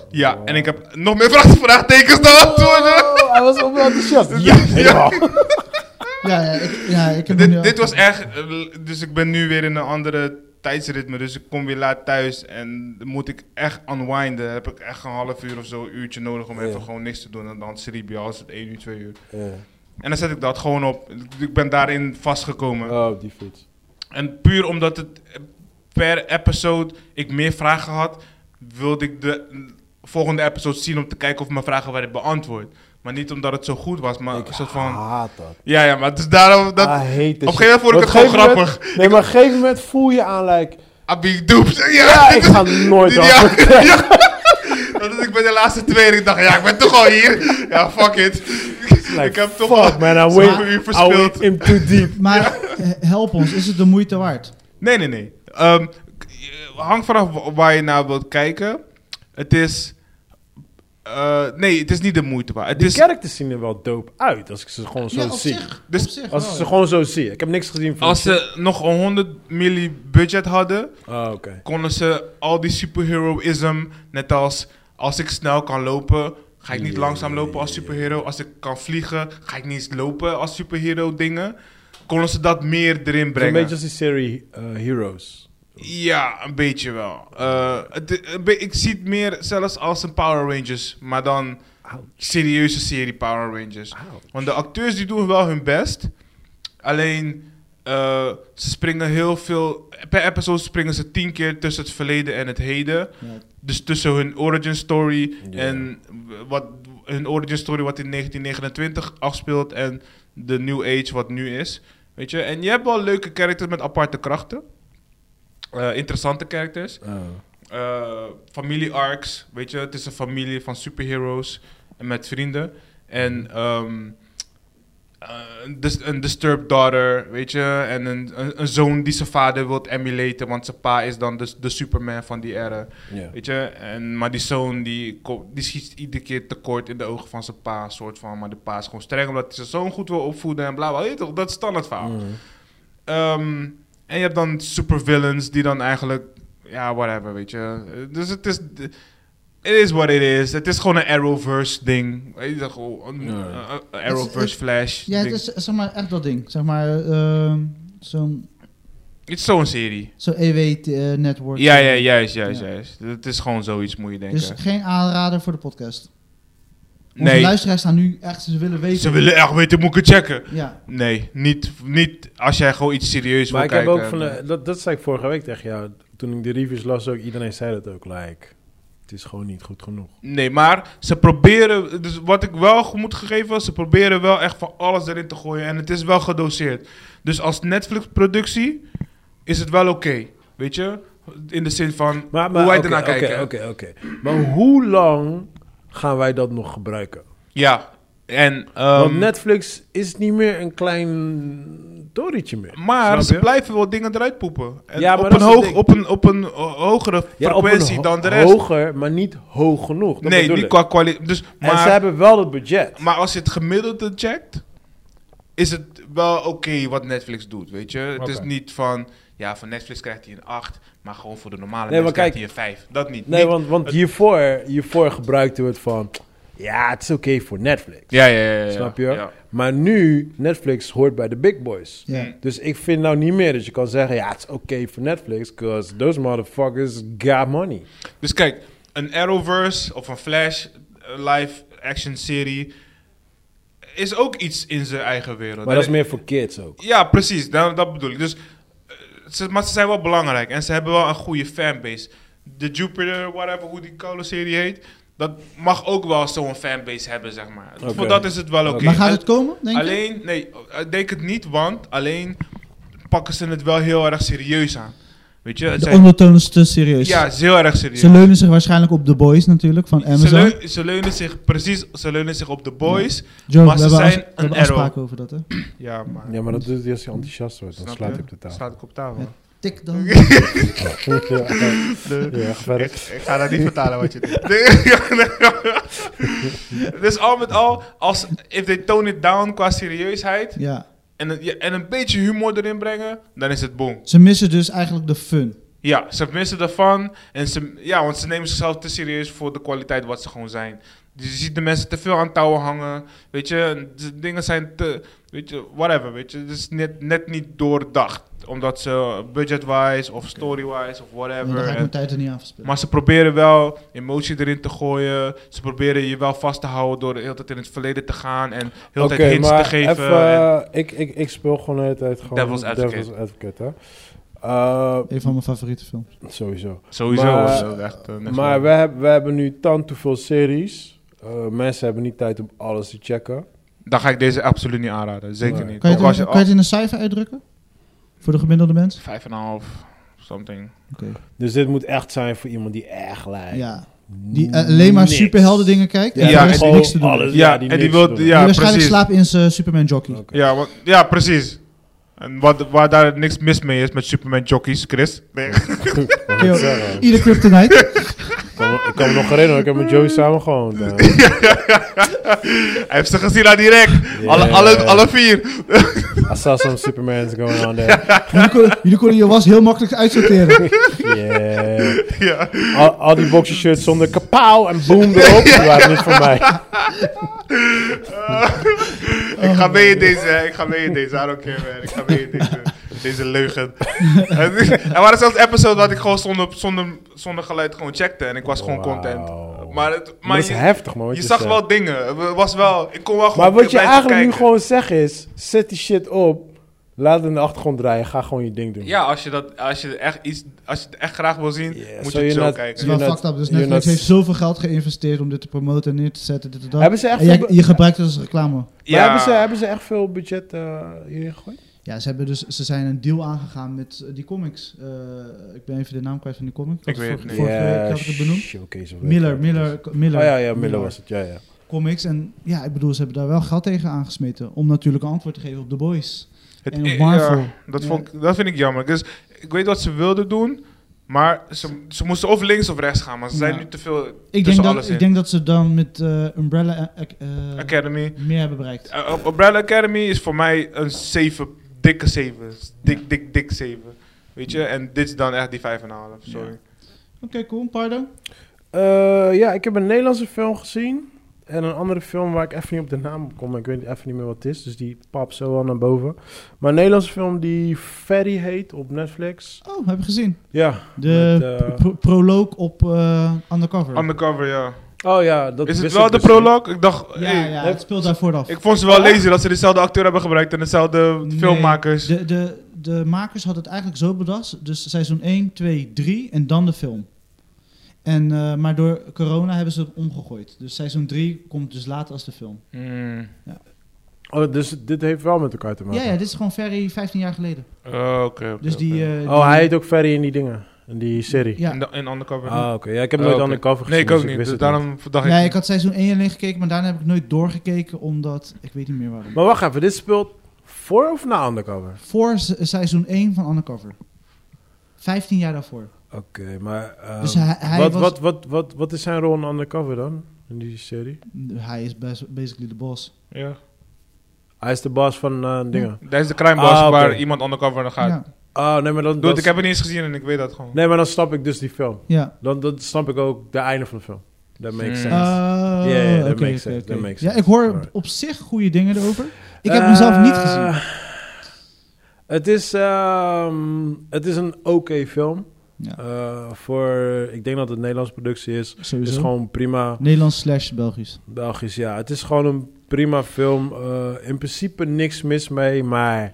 Ja, en ik heb nog meer vraag- vraagtekens dan antwoorden. Oh, hij was op enthousiast. Ja, helemaal. Ja, ja, ik, ja, ik heb hem nu Dit, dit was afgekeken. echt... eh, l- Dus ik ben nu weer in een andere tijdsritme. Dus ik kom weer laat thuis en dan moet ik echt unwinden. Dan heb ik echt een half uur of zo, een uurtje nodig om even Ja. gewoon niks te doen. En dan sleep je als het één uur, twee uur. Ja. En dan zet ik dat gewoon op. Ik ben daarin vastgekomen. Oh, die fiets. En puur omdat het eh, per episode ik meer vragen had, wilde ik de mm, volgende episode zien om te kijken of mijn vragen werden beantwoord. Maar niet omdat het zo goed was, maar Ik een soort van... haat Ah. dat. Ja, ja, maar dus daarom dat... I hate this op een gegeven moment vond ik shit. het Op een gewoon gegeven grappig. moment- nee, maar op een gegeven moment voel je aan, like... Abi doeps. Ja, Ja, ik dit- ga nooit dit- af. ja, ja. Dat is- ik ben de laatste twee en ik dacht, ja, ik ben toch al hier. Ja, fuck it. ik heb toch al Fuck, man, I zoveel went, uur I went verspild. him too deep. Maar eh, help ons, is het de moeite waard? Nee, nee, nee. Ehm, k- eh, hang vanaf wa- waar je naar wilt kijken. Het is. eh, nee, het is niet de moeite waard. Het Die is, characters zien er wel dope uit als ik ze gewoon zo ja, op zie. zich. Dus op zich Als wel, ik ze ja. gewoon zo zie. Ik heb niks gezien van als die shit. ze nog een 100 milli budget hadden, Oh, oké. konden ze al die superheroïsm. Net als als ik snel kan lopen, ga ik niet Ja, langzaam lopen als superhero. Als ik kan vliegen, ga ik niet eens lopen als superhero dingen. Konden ze dat meer erin Het is Een brengen? beetje als die serie eh, Heroes. Ja, een beetje wel. Eh, het- een be- ik zie het meer zelfs als een Power Rangers, maar dan serieuze serie Power Rangers. Want de acteurs die doen wel hun best, alleen eh, ze springen heel veel. Per episode springen ze tien keer tussen het verleden en het heden. Ja. Dus tussen hun origin story Ja. en wat hun origin story wat in 1929 afspeelt en de New Age wat nu is. Weet je, en je hebt wel leuke characters met aparte krachten. Eh, interessante characters. Oh, Eh, familie arcs, weet je, het is een familie van superheroes en met vrienden. En ehm, eh, een dis- een disturbed daughter, weet je, en een, een, een zoon die zijn vader wilt emulaten, want zijn pa is dan dus de, de Superman van die era. Ja. Weet je, en, maar die zoon die, ko- die schiet iedere keer tekort in de ogen van zijn pa, soort van. Maar de pa is gewoon streng omdat hij zijn zoon goed wil opvoeden en bla bla. Weet je toch, dat is standaard verhaal. Mm. Ehm, en je hebt dan supervillains die dan eigenlijk, ja, whatever, weet je. Dus het is, it is what it is. Het is gewoon een Arrowverse ding. Weet je, toch, gewoon een, Ja. een- een Arrowverse het- Flash Ja, het ding. is zeg maar echt dat ding. Zeg maar ehm, zo'n Het is zo'n serie. zo'n EW-network. Ja, ja, juist, juist, Ja. juist. Het is gewoon zoiets, moet je denken. Dus geen aanrader voor de podcast. Onze Nee. luisteraars staan nu echt, ze willen weten. Ze willen echt weten, moet ik het checken? Ja, Nee, niet, niet als jij gewoon iets serieus Maar wil ik heb kijken. ook van, de- dat, dat zei ik vorige week tegen jou. Toen ik de reviews las, ook iedereen zei dat ook. Like, het is gewoon niet goed genoeg. Nee, maar ze proberen, dus wat ik wel ge- moet gegeven, ze proberen wel echt van alles erin te gooien. En het is wel gedoseerd. Dus als Netflix-productie is het wel oké. weet je? In de zin van Maar, maar, hoe wij oké, ernaar oké, kijken. Oké, oké. Maar hoe lang gaan wij dat nog gebruiken? Ja, en. Want ehm, Netflix is niet meer een klein torentje meer. maar Snap ze je? blijven wel dingen eruit poepen. En Ja, maar op, dat een is het hoog, ding. op, een, op een eh, hogere Ja, op een frequentie ho- dan de rest. Hoger, maar niet hoog genoeg. Dat nee, bedoel niet ik. qua kwaliteit. Dus, En ze maar, hebben wel het budget. maar als je het gemiddelde checkt, is het wel oké wat Netflix doet, weet je? Het is Oké. niet van, ja, van Netflix krijgt hij een 8, maar gewoon voor de normale Nee, mensen maar kijk- krijgt hij een 5. Dat niet. Nee, Niet- want, want hiervoor, hiervoor gebruikten we het van... Ja, het is oké voor Netflix. Ja, ja, ja, ja, ja. Snap je? Ja. Maar nu, Netflix hoort bij de big boys. ja. Mm. Dus ik vind nou niet meer dat je kan zeggen... Ja, het is oké voor Netflix... Because those motherfuckers got money. Dus kijk, een Arrowverse of een Flash eh, live action serie is ook iets in zijn eigen wereld. Maar dat is En- meer voor kids ook. Ja, precies. Dat, dat bedoel ik. Dus, eh, ze, maar ze zijn wel belangrijk en ze hebben wel een goede fanbase. De Jupiter, whatever, hoe die koude serie heet, dat mag ook wel zo'n fanbase hebben, zeg maar. Oké. Voor dat is het wel oké. Oké. Maar gaat Al- het komen, denk je? alleen, nee, ik denk het niet, want alleen pakken ze het wel heel erg serieus aan. Weet je, het De zijn, ondertoon is te serieus. ja, het is heel erg serieus. Ze leunen zich waarschijnlijk op The Boys natuurlijk, van Ze, Amazon. leun- ze leunen zich, precies, ze leunen zich op de boys. Joe, maar we ze hebben zijn afs- we hebben een arrow. afspraken over dat, hè? Ja, maar... Ja, maar dat doet hij als hij enthousiast wordt. Dan Snap slaat je? hij op de tafel. Slaat ik op tafel. Tik dan. ja, ja, verder. Ik, ik ga dat niet vertalen wat je doet. Nee. dus al met al, als, if they tone it down qua serieusheid Ja. en, een- ja, en een beetje humor erin brengen, dan is het boom. Ze missen dus eigenlijk de fun. Ja, ze missen ervan. En ze, ja, want ze nemen zichzelf te serieus voor de kwaliteit wat ze gewoon zijn. Dus je ziet de mensen te veel aan touwen hangen. Weet je, en de dingen zijn te, weet je, whatever, weet je. Het is net, net niet doordacht. Omdat ze budget-wise of story-wise of Ja, whatever. dan ga ik en- mijn tijd er niet aan verspillen. maar ze proberen wel emotie erin te gooien. Ze proberen je wel vast te houden door de hele tijd in het verleden te gaan. En de hele tijd hints te geven. even, en- eh, ik, ik, ik speel gewoon de hele tijd gewoon Devil's Advocate. Devil's Advocate, hè. Eh, Een van mijn favoriete films. sowieso. sowieso. maar- was het echt, eh, niks Maar meer. we hebben, we hebben nu tant te veel series. Eh, mensen hebben niet tijd om alles te checken. Dan ga ik deze absoluut niet aanraden. Zeker Nee. niet. Kan je, Ook het als je in, kan je het in een cijfer uitdrukken? Voor de gemiddelde mens? oh, Vijf en een half, something. Oké. Dus dit moet echt zijn voor iemand die echt lijkt. Ja. Die eh, alleen maar niks. superhelden dingen kijkt. Ja, En ja, oh, ja, en niks gewoon te doen. alles. heeft. Ja, Ja, die en die niks wil... doen. die Ja, waarschijnlijk precies. slaapt in zijn Superman jockey. Oké. Ja, want, ja, precies. En wat, waar daar niks mis mee is met Superman jockeys, Chris. Nee. Ik wou net zeggen. Ieder kryptonite. Ik kan, me- ik kan me nog herinneren, ik heb met Joey samen gewoon. Hij heeft ze gezien aan die rek. Alle, Ja. alle, alle vier. I saw some Supermans going on there. jullie, konden, jullie konden je was heel makkelijk uitsorteren. Yeah. ja. Al, al die boxershirts zonder kapauw en boom erop, die waren niet voor mij. Ik Oh. ga mee in deze, hè. ik ga mee in deze. I don't care, man. Ik ga mee in deze, deze leugen. En er waren zelfs episodes dat ik gewoon zonder, zonder, zonder geluid gewoon checkte. En ik was gewoon Wauw. content. Maar, het, maar, Maar dat is je, heftig, man. wat je zag zegt. wel dingen. Het was wel, ik kon wel gewoon Maar wat je blijven eigenlijk nu kijken. gewoon zegt is: zet die shit op, laat het in de achtergrond draaien, ga gewoon je ding doen. Ja, als je, dat, als je, echt, iets, als je het echt graag wil zien, Yeah, moet so je you're het zo not- Het is kijken. wel You're not- fucked up. Dus you're Netflix not- heeft zoveel geld geïnvesteerd om dit te promoten en neer te zetten. Dit en dat. Hebben ze echt En jij, veel be- je gebruikt het als reclame. Maar Ja. hebben, ze, hebben ze echt veel budget eh, hierin gegooid? Ja, ze, hebben dus, ze zijn een deal aangegaan met eh, die comics. Eh, ik ben even de naam kwijt van die comic. Ik had weet het het vorige, niet. vorige week had ik het benoemd. Showcase of Miller, weet ik Miller, wat. Miller. Miller, Oh ja, ja, Miller was het, ja, ja. Comics. En ja, ik bedoel, ze hebben daar wel geld tegen aangesmeten. Om natuurlijk een antwoord te geven op The Boys. Het- En op ja, Marvel. dat, Ja. vond, ik- dat vind ik jammer. Dus ik weet wat ze wilden doen, maar ze, ze moesten of links of rechts gaan. Maar ze zijn Ja. nu te veel Ik denk, tussen dat, alles ik in. denk dat ze dan met eh, Umbrella eh, eh, Academy. meer hebben bereikt. Uh, Umbrella Academy is voor mij een 7, dikke 7. Dik, dik, dik 7. Weet je, en dit is dan echt die 5,5. Sorry. Oké, cool. Pardon. Eh, ja, ik heb een Nederlandse film gezien. En een andere film waar ik even niet op de naam op kom. maar Ik weet even niet meer wat het is. Dus die pap zo wel naar boven. Maar een Nederlandse film die Ferry heet op Netflix. Oh, heb ik gezien. Ja. De Met, eh, pro- proloog op eh, Undercover. Undercover, ja. Oh ja, dat Is het wist wel ik de dus niet. prologue? Ik dacht, Ja, hey, ja, het speelt daar vooraf. ik vond ze wel lazy dat ze dezelfde acteur hebben gebruikt en dezelfde Nee, Dus- filmmakers. De, de, de makers hadden het eigenlijk zo bedacht. Dus seizoen 1, 2, 3 en dan de film. En, eh, maar door corona hebben ze het omgegooid. Dus seizoen 3 komt dus later als de film. Hmm. Oh, dus dit heeft wel met elkaar te maken. Ja, ja, dit is gewoon Ferry 15 jaar geleden. Oh, oké. oké, Dus die, oké. eh, Oh, die- hij heet ook Ferry in die dingen. In die serie. ja. In, de- in Undercover. Ah, oké. Ja, ik heb Oh, nooit oké. undercover Nee, gezien. ik ook dus niet. wist het Dus daarom dacht Ja, ik... ik had seizoen 1 alleen gekeken, maar daarna heb ik nooit doorgekeken. Omdat, ik weet niet meer waarom. Maar wacht even, dit speelt voor of na undercover? Voor se- seizoen 1 van Undercover. 15 jaar daarvoor. Oké, maar... ehm, Dus hij- hij wat, was- wat, wat, wat, wat is zijn rol in undercover dan? In die serie? Hij is best, basically de boss. Ja. Hij is de baas van eh, dingen. Dat is de crime boss Ah, oké. waar iemand undercover naar gaat. Ja, Oh, nee, maar dan... Dude, dat ik is- heb het niet eens gezien en ik weet dat gewoon. Nee, maar dan snap ik dus die film. ja. Dan, dan snap ik ook de einde van de film. Dat Hmm. makes sense. Oh, Ja, ja, dat makes oké, oké, sense, oké. dat makes Ja, sense. ik hoor op- Alright. op zich goede dingen erover. Ik heb mezelf niet gezien. Eh, Het is, ehm, het is een oké film. Ja. Eh, voor, ik denk dat het Nederlandse productie is. Het Sowieso. is gewoon prima. Nederlands slash Belgisch. Belgisch, ja. Het is gewoon een prima film. Eh, in principe niks mis mee, maar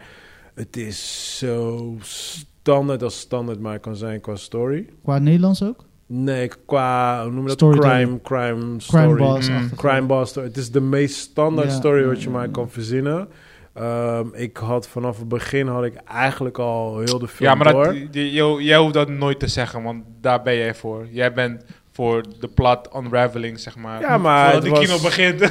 het is zo standaard als standaard maar kan zijn qua story. Qua Nederlands ook? Nee, qua, hoe noem je dat? Crime, Storytelling. crime story. Crime Boss. Mm, achtig. Crime Boss story. Het is de meest standaard Ja, story ja, wat je ja, maar ja. kan verzinnen. Ehm, ik had vanaf het begin had ik eigenlijk al heel de film Ja, maar door. dat, je- je- jij hoeft dat nooit te zeggen, want daar ben jij voor. Jij bent voor de plot unraveling, zeg maar. Ja, maar Voordat het de was- kino begint.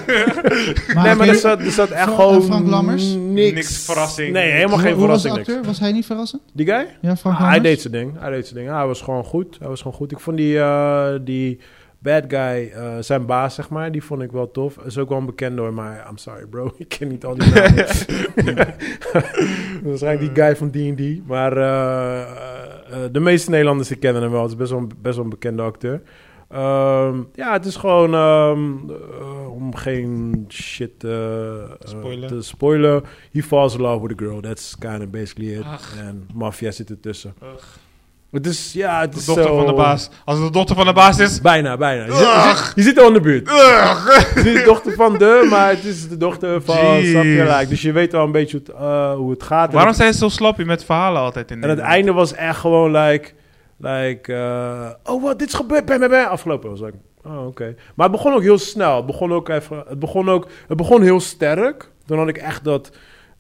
Maar nee, maar oké, er zat, er zat echt Fra- gewoon Frank Lammers? niks. Niks verrassing. Nee, helemaal hoe- geen Hoe was de verrassing. niks. acteur? Was hij niet verrassend? Die guy? Ja, Frank Ah, hij Lammers? deed zijn ding. Hij deed zijn ding. Hij was gewoon goed. Hij was gewoon goed. Ik vond die, eh, die bad guy, eh, zijn baas, zeg maar, die vond ik wel tof. Is ook wel een bekend door, maar I'm sorry bro, ik ken niet al die namen. Waarschijnlijk die guy van D&D. Maar eh, eh, de meeste Nederlanders die kennen hem wel. Het is best wel, een- best wel een bekende acteur. Ehm, ja, het is gewoon ehm, eh, om geen shit eh, eh, Spoilen. te spoilen. He falls in love with a girl. That's kind of basically it. Ach. En Mafia zit ertussen. Ugh. Het is, ja, het De is dochter zo- van de baas. Als het de dochter van de baas is... Bijna, bijna. Je, zit- je zit- je zit al in de buurt. Ugh. Het is niet de dochter van de, maar het is de dochter van... Jeez. snap je, like, dus je weet wel een beetje hoe het, eh, hoe het gaat. Waarom en, zijn ze zo sloppy met verhalen altijd in het, en het Nederland? einde was echt gewoon like... like eh, oh, wat, dit is gebeurd. Bam, bam, bam. Afgelopen was ik... Oh, oké. Maar het begon ook heel snel. Het begon ook even... Het begon ook... Het begon heel sterk. Toen had ik echt dat...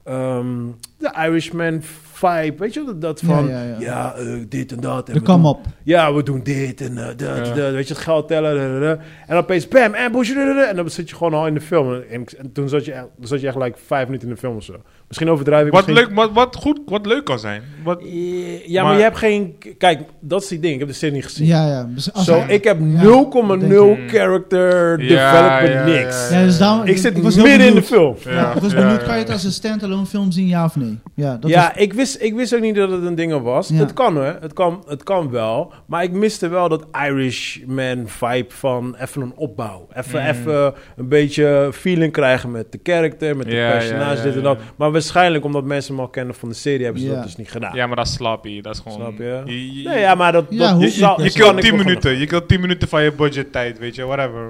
ehm, de Irishman vibe. Weet je, dat, dat Ja, van... Ja, ja, ja. eh, dit en dat. en De we doen kam op. ja, we doen dit en eh, dat, Ja. dat, weet je, het geld tellen. da, da, da. En opeens, bam, ambush, da, da, da. en dan zit je gewoon al in de film. En, ik- en toen zat je, echt- dan zat je echt like vijf minuten in de film of zo. Misschien overdrijf ik Wat, misschien... leuk, wat, wat, goed, wat leuk kan zijn. Wat, Eh, Ja, maar, Maar- je hebt geen... Kijk, dat is die ding. Ik heb de serie niet gezien. Ja, ja. Dus Zo, als hij- ik heb 0,0 denk ik. character Hmm. Ja, development ja, ja, niks. ja. Ja, dus daarom- Ik zit was heel midden in de benieuwd. film. Ja, ik was benieuwd, kan je het als een standalone film zien, ja of nee? Ja, dat ja, was- ik, wist, ik wist ook niet dat het een ding was. Ja. Het kan hè, het kan, het kan wel. Maar ik miste wel dat Irishman vibe van even een opbouw. Even, Mm. even een beetje feeling krijgen met de karakter, met de Ja, personage, ja, ja, dit en ja. dat. Maar waarschijnlijk omdat mensen hem al kennen van de serie, hebben ze Ja. dat dus niet gedaan. Ja, maar dat is sloppy. Dat is gewoon... Snap je? Je, je, Nee, ja, maar dat, Ja, dat hoe- dat je- zou- je dat zou kilt ik 10 wel minuten. Je kilt 10 minuten van je budgettijd, weet je. Whatever.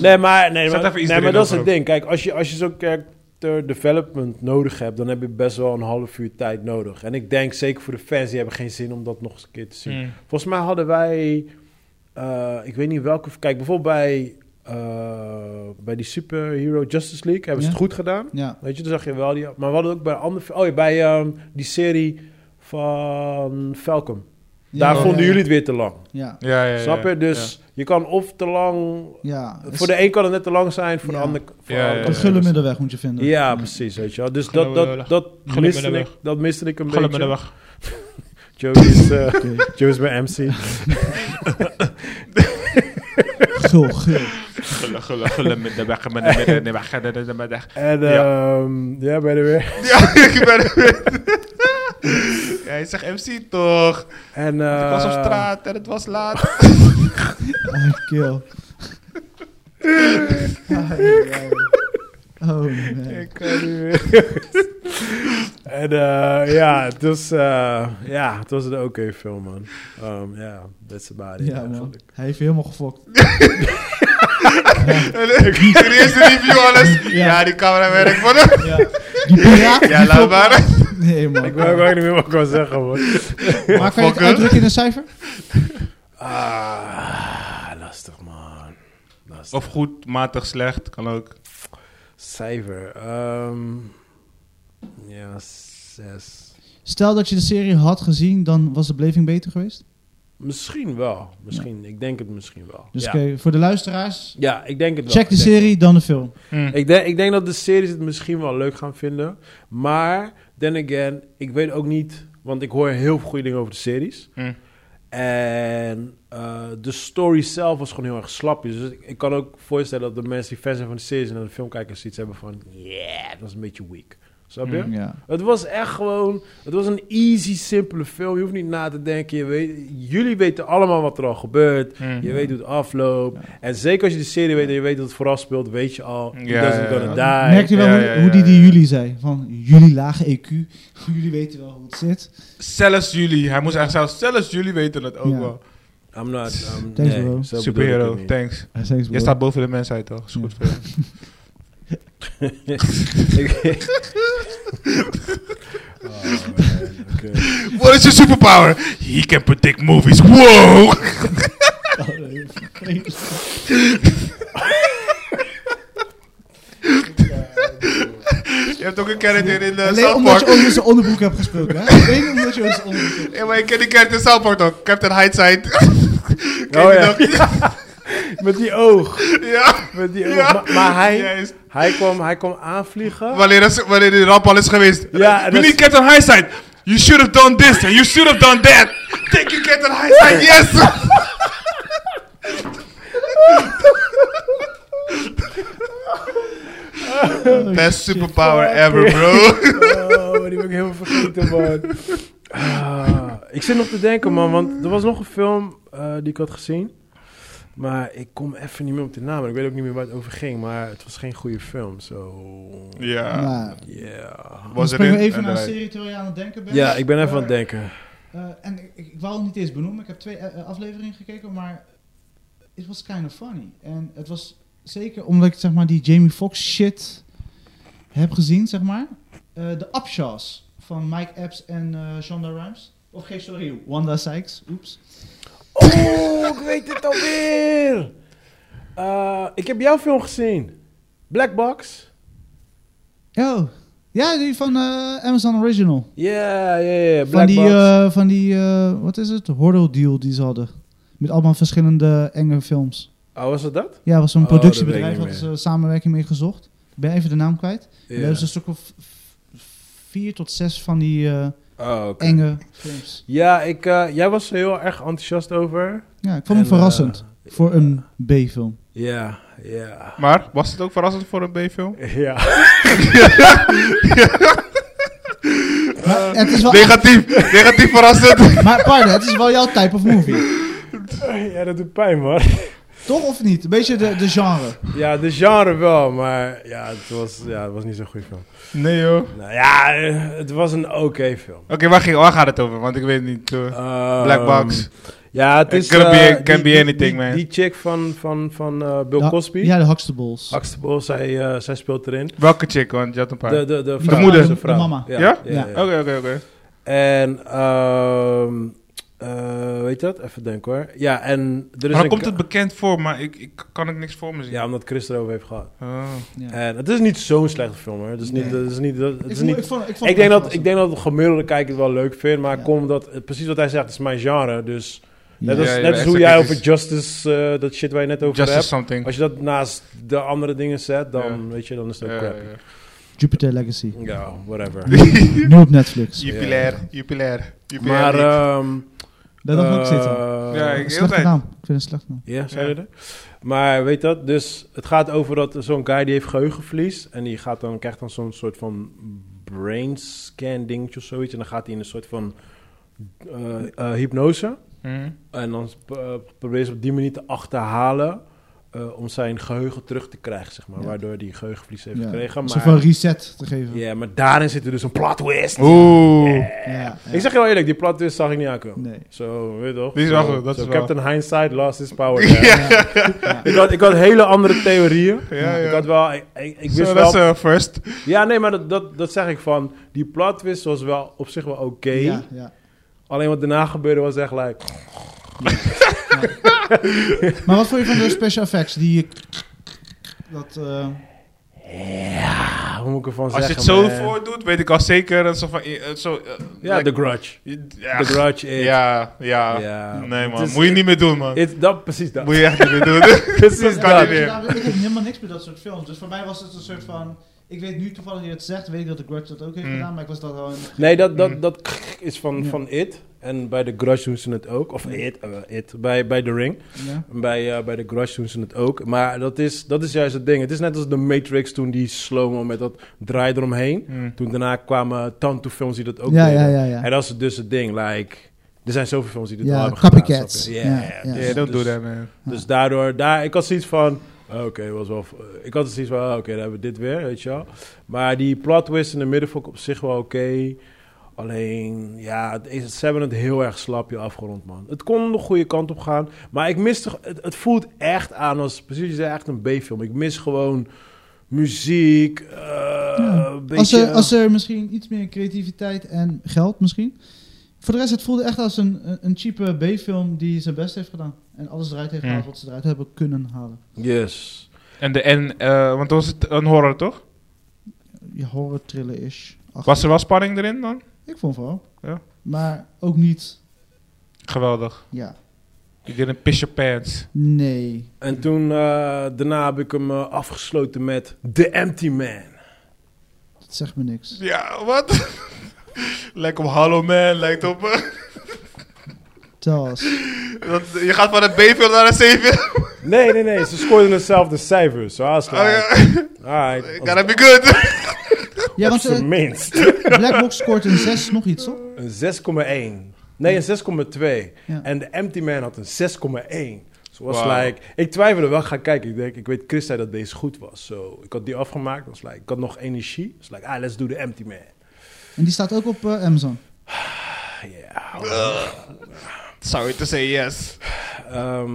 Nee, maar, nee, Zet maar, even iets nee, maar erin dat is over. het ding. Kijk, als je, als je zo'n character development nodig hebt, dan heb je best wel een half uur tijd nodig. En ik denk zeker voor de fans, die hebben geen zin om dat nog eens een keer te zien. Hmm. Volgens mij hadden wij, eh, ik weet niet welke, kijk bijvoorbeeld bij, eh, bij die Superhero Justice League hebben ze Ja. het goed gedaan. ja. Weet je, dan zag je wel die, maar we hadden ook bij andere, oh ja, bij ehm, die serie van Falcon. Ja, Daar ja, vonden ja, jullie het weer te lang. Ja, Ja, ja, ja. Snap je? Dus je kan of te lang ja. voor de een kan het net te lang zijn, voor de Ja. ander. Voor de Ja, ja, ander ja. De kan gulle het- middenweg moet je vinden. Ja, precies, weet je wel. Dus Gulle dat, dat, middenweg. dat, Gulle miste ik, middenweg. dat miste ik een Ga hem beetje. de weg. Joey is, eh, Oké. Joey is mijn MC. Gul, gul. Gulle, gulle, gulle met de weg. Met de midden, de weg, de- de- de- de weg. En Ja. ehm, ja, bij de weer. Ja, ik ben er weer. Ja, hij zegt MC toch? En, ik was op eh, straat en het was laat. Ah, Kill. Ah, ja. Oh man. Ik kan niet meer. En eh, ja, het was, eh, ja, het was een oké film, man. Ehm, Ja, that's about it Ja man, eigenlijk. hij heeft je helemaal gefokt. Serieus de review alles? Ja, Ja. die camera werkt voor hem. Ja. Die piraat. Ja, die laat top- maar. Nee, man. Ik weet ook niet meer wat ik wil zeggen, man. Maar kan je het Fucker. uitdrukken in een cijfer? Ah, lastig, man. Lastig. Of goed, matig, slecht, kan ook. Cijfer. ehm, ja, zes. Stel dat je de serie had gezien, dan was de beleving beter geweest. Misschien wel. Misschien. Ik denk het misschien wel. Dus ja. oké, voor de luisteraars, ja, ik denk het wel. check de Ik denk- serie, dan de film. Hmm. Ik denk, ik denk dat de series het misschien wel leuk gaan vinden. Maar, then again, ik weet ook niet... Want ik hoor heel veel goede dingen over de series. Hmm. En eh, de story zelf was gewoon heel erg slapjes. Dus ik, ik kan ook voorstellen dat de mensen die fan zijn van de series... en naar de filmkijkers zoiets hebben van... Yeah, dat was een beetje weak. Snap je? Ja. Het was echt gewoon... Het was een easy, simpele film. Je hoeft niet na te denken. Je weet, jullie weten allemaal wat er al gebeurt. Hmm. Je Mhm. weet hoe het afloopt. En zeker als je de serie weet en je weet dat het vooral speelt, weet je al. He Ja, doesn't ja, ja. gonna die. Merkte je wel Ja, hoe, ja, ja, hoe die die ja. jullie zei? Van jullie lage EQ, jullie weten wel hoe het zit. Zelfs jullie, hij moest echt zelfs, zelfs jullie weten het ook Ja. wel. I'm not. I'm, Thanks, nee, bro. zo bedoel ik Superhero, het niet. thanks. Hij zei, Je staat boven de mensheid toch? Is goed voor jou. Oh, man, oké. What is your superpower? He can predict movies. Wow! Oh, Je hebt ook een character in de Alleen South omdat je Park. onder zijn onderbroek hebt gesproken, hè? Alleen omdat je onder zijn onderbroek hebt Ja, maar je kent die character in South Park toch? Captain Hindsight. Oh, je ja. nog? Met die oog. ja. Met die oog. Ja. Maar, maar hij, Ja, is- hij, kwam, hij kwam aanvliegen. wanneer, is- wanneer die ramp al is geweest. Ja, en We dat- need Captain Hindsight. You should have done this and you should have done that. Thank you, Captain Hindsight. Yes! gesproken. Best superpower ever, bro. Oh, maar die ben ik heel vergeten, man. Ah, ik zit nog te denken, man, want er was nog een film eh, die ik had gezien. Maar ik kom even niet meer op de naam. en Ik weet ook niet meer waar het over ging, maar het was geen goede film. Zo. Ja. Nou, Yeah. springen Was Nou, we erin even en naar een eruit. serie terwijl je aan het denken bent. Ja, ik ben even aan Waar- het denken. Eh, en ik, ik wou het niet eens benoemen. Ik heb twee eh, eh, afleveringen gekeken, maar it was kind of funny. En het was zeker omdat ik zeg maar die Jamie Foxx shit heb gezien, zeg maar. Eh, de upshaws van Mike Epps en eh Shonda Rhimes. Of geen, sorry, Wanda Sykes. Oeps. Oh, ik weet het alweer! Eh, ik heb jouw film gezien. Black Box. Oh. Ja, die van eh, Amazon Original. Ja, ja, ja. van Black die, Box. eh, van die eh, wat is het? Horror deal die ze hadden. Met allemaal verschillende enge films. Oh, was het dat? Ja, was Oh, zo'n dat weet ik productiebedrijf, niet hadden ze samenwerking mee gezocht. Ik ben even de naam kwijt. We Ja. hebben ze Dus een stuk of vier tot zes van die eh, Oh, oké. enge films. Ja, ik, eh, jij was er heel erg enthousiast over. Ja, ik vond En, hem verrassend eh, voor ja. een B-film. Ja, ja. Maar was het ook verrassend voor een B-film? Ja. Eh, Maar het is wel, Negatief, negatief verrassend. maar pardon, het is wel jouw type of movie. ja, dat doet pijn, man. Toch of niet? Een beetje de, de genre. Ja, de genre wel, maar ja, het was, ja, het was niet zo'n goede film. Nee joh. Oké, Nou ja, eh, het was een oké film. waar, ging- waar gaat het over? Want ik weet het niet. eh. Ehm, Black Box. Ja, het It is... could eh, be- it die- can be die- anything, die- man. Die chick van, van, van eh, Bill Ja, Cosby. Ja, de Huxtables. Huxtable, zij, eh, zij speelt erin. Welke chick? Want je had een paar. De, de, de, Die vrouw, moeder. zijn vrouw. De mama. Ja? Ja? Ja. Oké, oké, oké. En, ehm eh, weet je dat? Even denken hoor. Ja, en er is Maar dan een komt ka- het bekend voor, maar ik, ik kan ik niks voor me zien. Ja, omdat Chris erover heeft gehad. Oh. Ja. En het is niet zo'n slechte film hoor. Het is niet... Nee. Het is niet, het ik, eh, is vond, niet ik, vond, ik vond Ik het denk, dat, ik verrassend. denk dat de gemiddelde kijker het wel leuk vindt, maar Ja. kom dat, eh, precies wat hij zegt, het is mijn genre. Dus net Ja, als, je bent net als echt hoe een jij kritisch- over Justice, eh, dat shit waar je net over Justice hebt. something. Als je dat naast de andere dingen zet, dan, Ja. weet je, dan is dat Ja, crappy. ja. Jupiter Legacy. Ja, whatever. nu op Netflix. Jupiler, Jupiler, Jupiler. maar, League. ehm Dat mag ook eh, zitten. Ja, ik- heel Slechte tijd. naam. Ik vind het een slechte naam. Ja, zijn Ja. we er? Maar weet dat, dus het gaat over dat zo'n guy die heeft geheugenverlies en die gaat dan, krijgt dan zo'n soort van brain scan dingetje of zoiets. En dan gaat hij in een soort van eh, eh, hypnose. Mhm. En dan eh, probeer ze op die manier te achterhalen eh, om zijn geheugen terug te krijgen, zeg maar. Ja. Waardoor hij geheugenverlies heeft Ja. gekregen. Een soort van Maar, reset te geven. ja, maar daarin zit er dus een plot twist. Oh. Oeh. Ja, ja. Ik zeg heel eerlijk, die plot twist zag ik niet aankomen. Nee. Zo, weet je toch? Die is wel Zo- goed, dat zo is wel- Captain Hindsight lost his power. Ja. Ja. Ik, had, ik had hele andere theorieën. Ja, Ik ja. had wel... Ik, ik, ik Zo, wist dat wel... is eh, first. Ja, nee, maar dat, dat, dat zeg ik van... Die plot twist was wel op zich wel oké. Ja, ja. Alleen wat daarna gebeurde was echt like... Maar wat vond je van de special effects die je... Dat, eh, Ja, hoe ah, moet ik ervan Als je zeggen, het zo man? voordoet, weet ik al zeker dat zo van... eh, zo, eh, Ja, like- The Grudge. Ja. The Grudge is... Ja, ja. Ja. Nee, man. Het is- Moet je niet meer doen, man. It- dat, precies dat. Moet je echt niet meer doen. Precies Dat dat. kan ja, niet weet je, meer. nou, ik heb helemaal niks met dat soort films. Dus voor mij was het een soort van... Ik weet nu toevallig dat je het zegt, weet ik dat de Grudge dat ook heeft Mm. gedaan, maar ik was dat al in... Nee, dat, dat, Mm. dat krrr is van, Ja. van It. En bij The Grudge doen ze het ook. Of It, eh, it. Bij, bij The Ring. Ja. Bij, eh, bij The Grudge doen ze het ook. Maar dat is, dat is juist het ding. Het is net als The Matrix toen die slow-mo met dat draai eromheen. Mm. Toen daarna kwamen Tanto films die dat ook Ja, deden. ja, ja, ja. En dat is dus het ding. Like, er zijn zoveel films die dit Ja, al hebben gedaan, copycats. snap je? Ja, Ja, ja. Yeah, don't do that, man. Dus daardoor, daar, ik had zoiets van, oh, oké, was wel, ik had zoiets van, oh, oké, dan hebben we dit weer, weet je wel. Maar die plot twist in de midden vond ik op zich wel oké. Alleen, ja, het is- ze hebben het heel erg slapje afgerond, man. Het kon de goede kant op gaan, maar ik mis toch, het, het voelt echt aan als, precies, je zei, echt een B-film. Ik mis gewoon muziek, eh, een beetje... Als, er, als er misschien iets meer creativiteit en geld misschien. Voor de rest, het voelde echt als een, een- een cheap B-film die zijn best heeft gedaan. En alles eruit heeft Mm. gehaald wat ze eruit hebben kunnen halen. Yes. En, de, en eh, want was het een horror, toch? Je horror thriller is. Was er wel spanning erin dan? Ik vond het wel. Ja. Maar ook niet, Geweldig. ja, You didn't piss your pants. nee. En toen, eh, daarna heb ik hem eh, afgesloten met The Empty Man. Dat zegt me niks. Ja, wat? lijkt op Hallo Man, lijkt op... eh, Tel us. eh, dat, je gaat van een B-film naar een C-film. Nee, nee, nee. Ze scoorden hetzelfde cijfers. Zo, als Oh, ja. Alright. Gotta be good. Ja, want Op eh, zijn minst. Black Box scoort een 6 nog iets op. Een 6,1. Nee, een 6,2. Ja. En The Empty Man had een 6,1. So was Wauw. like, ik twijfelde wel, ga kijken. Ik denk, ik weet, Chris zei dat deze goed was. So, ik had die afgemaakt. Was like, ik had nog energie. Was like, ah, let's do The Empty Man. En die staat ook op eh, Amazon. Ah, Ja. Uh. Sorry to say yes. Ehm,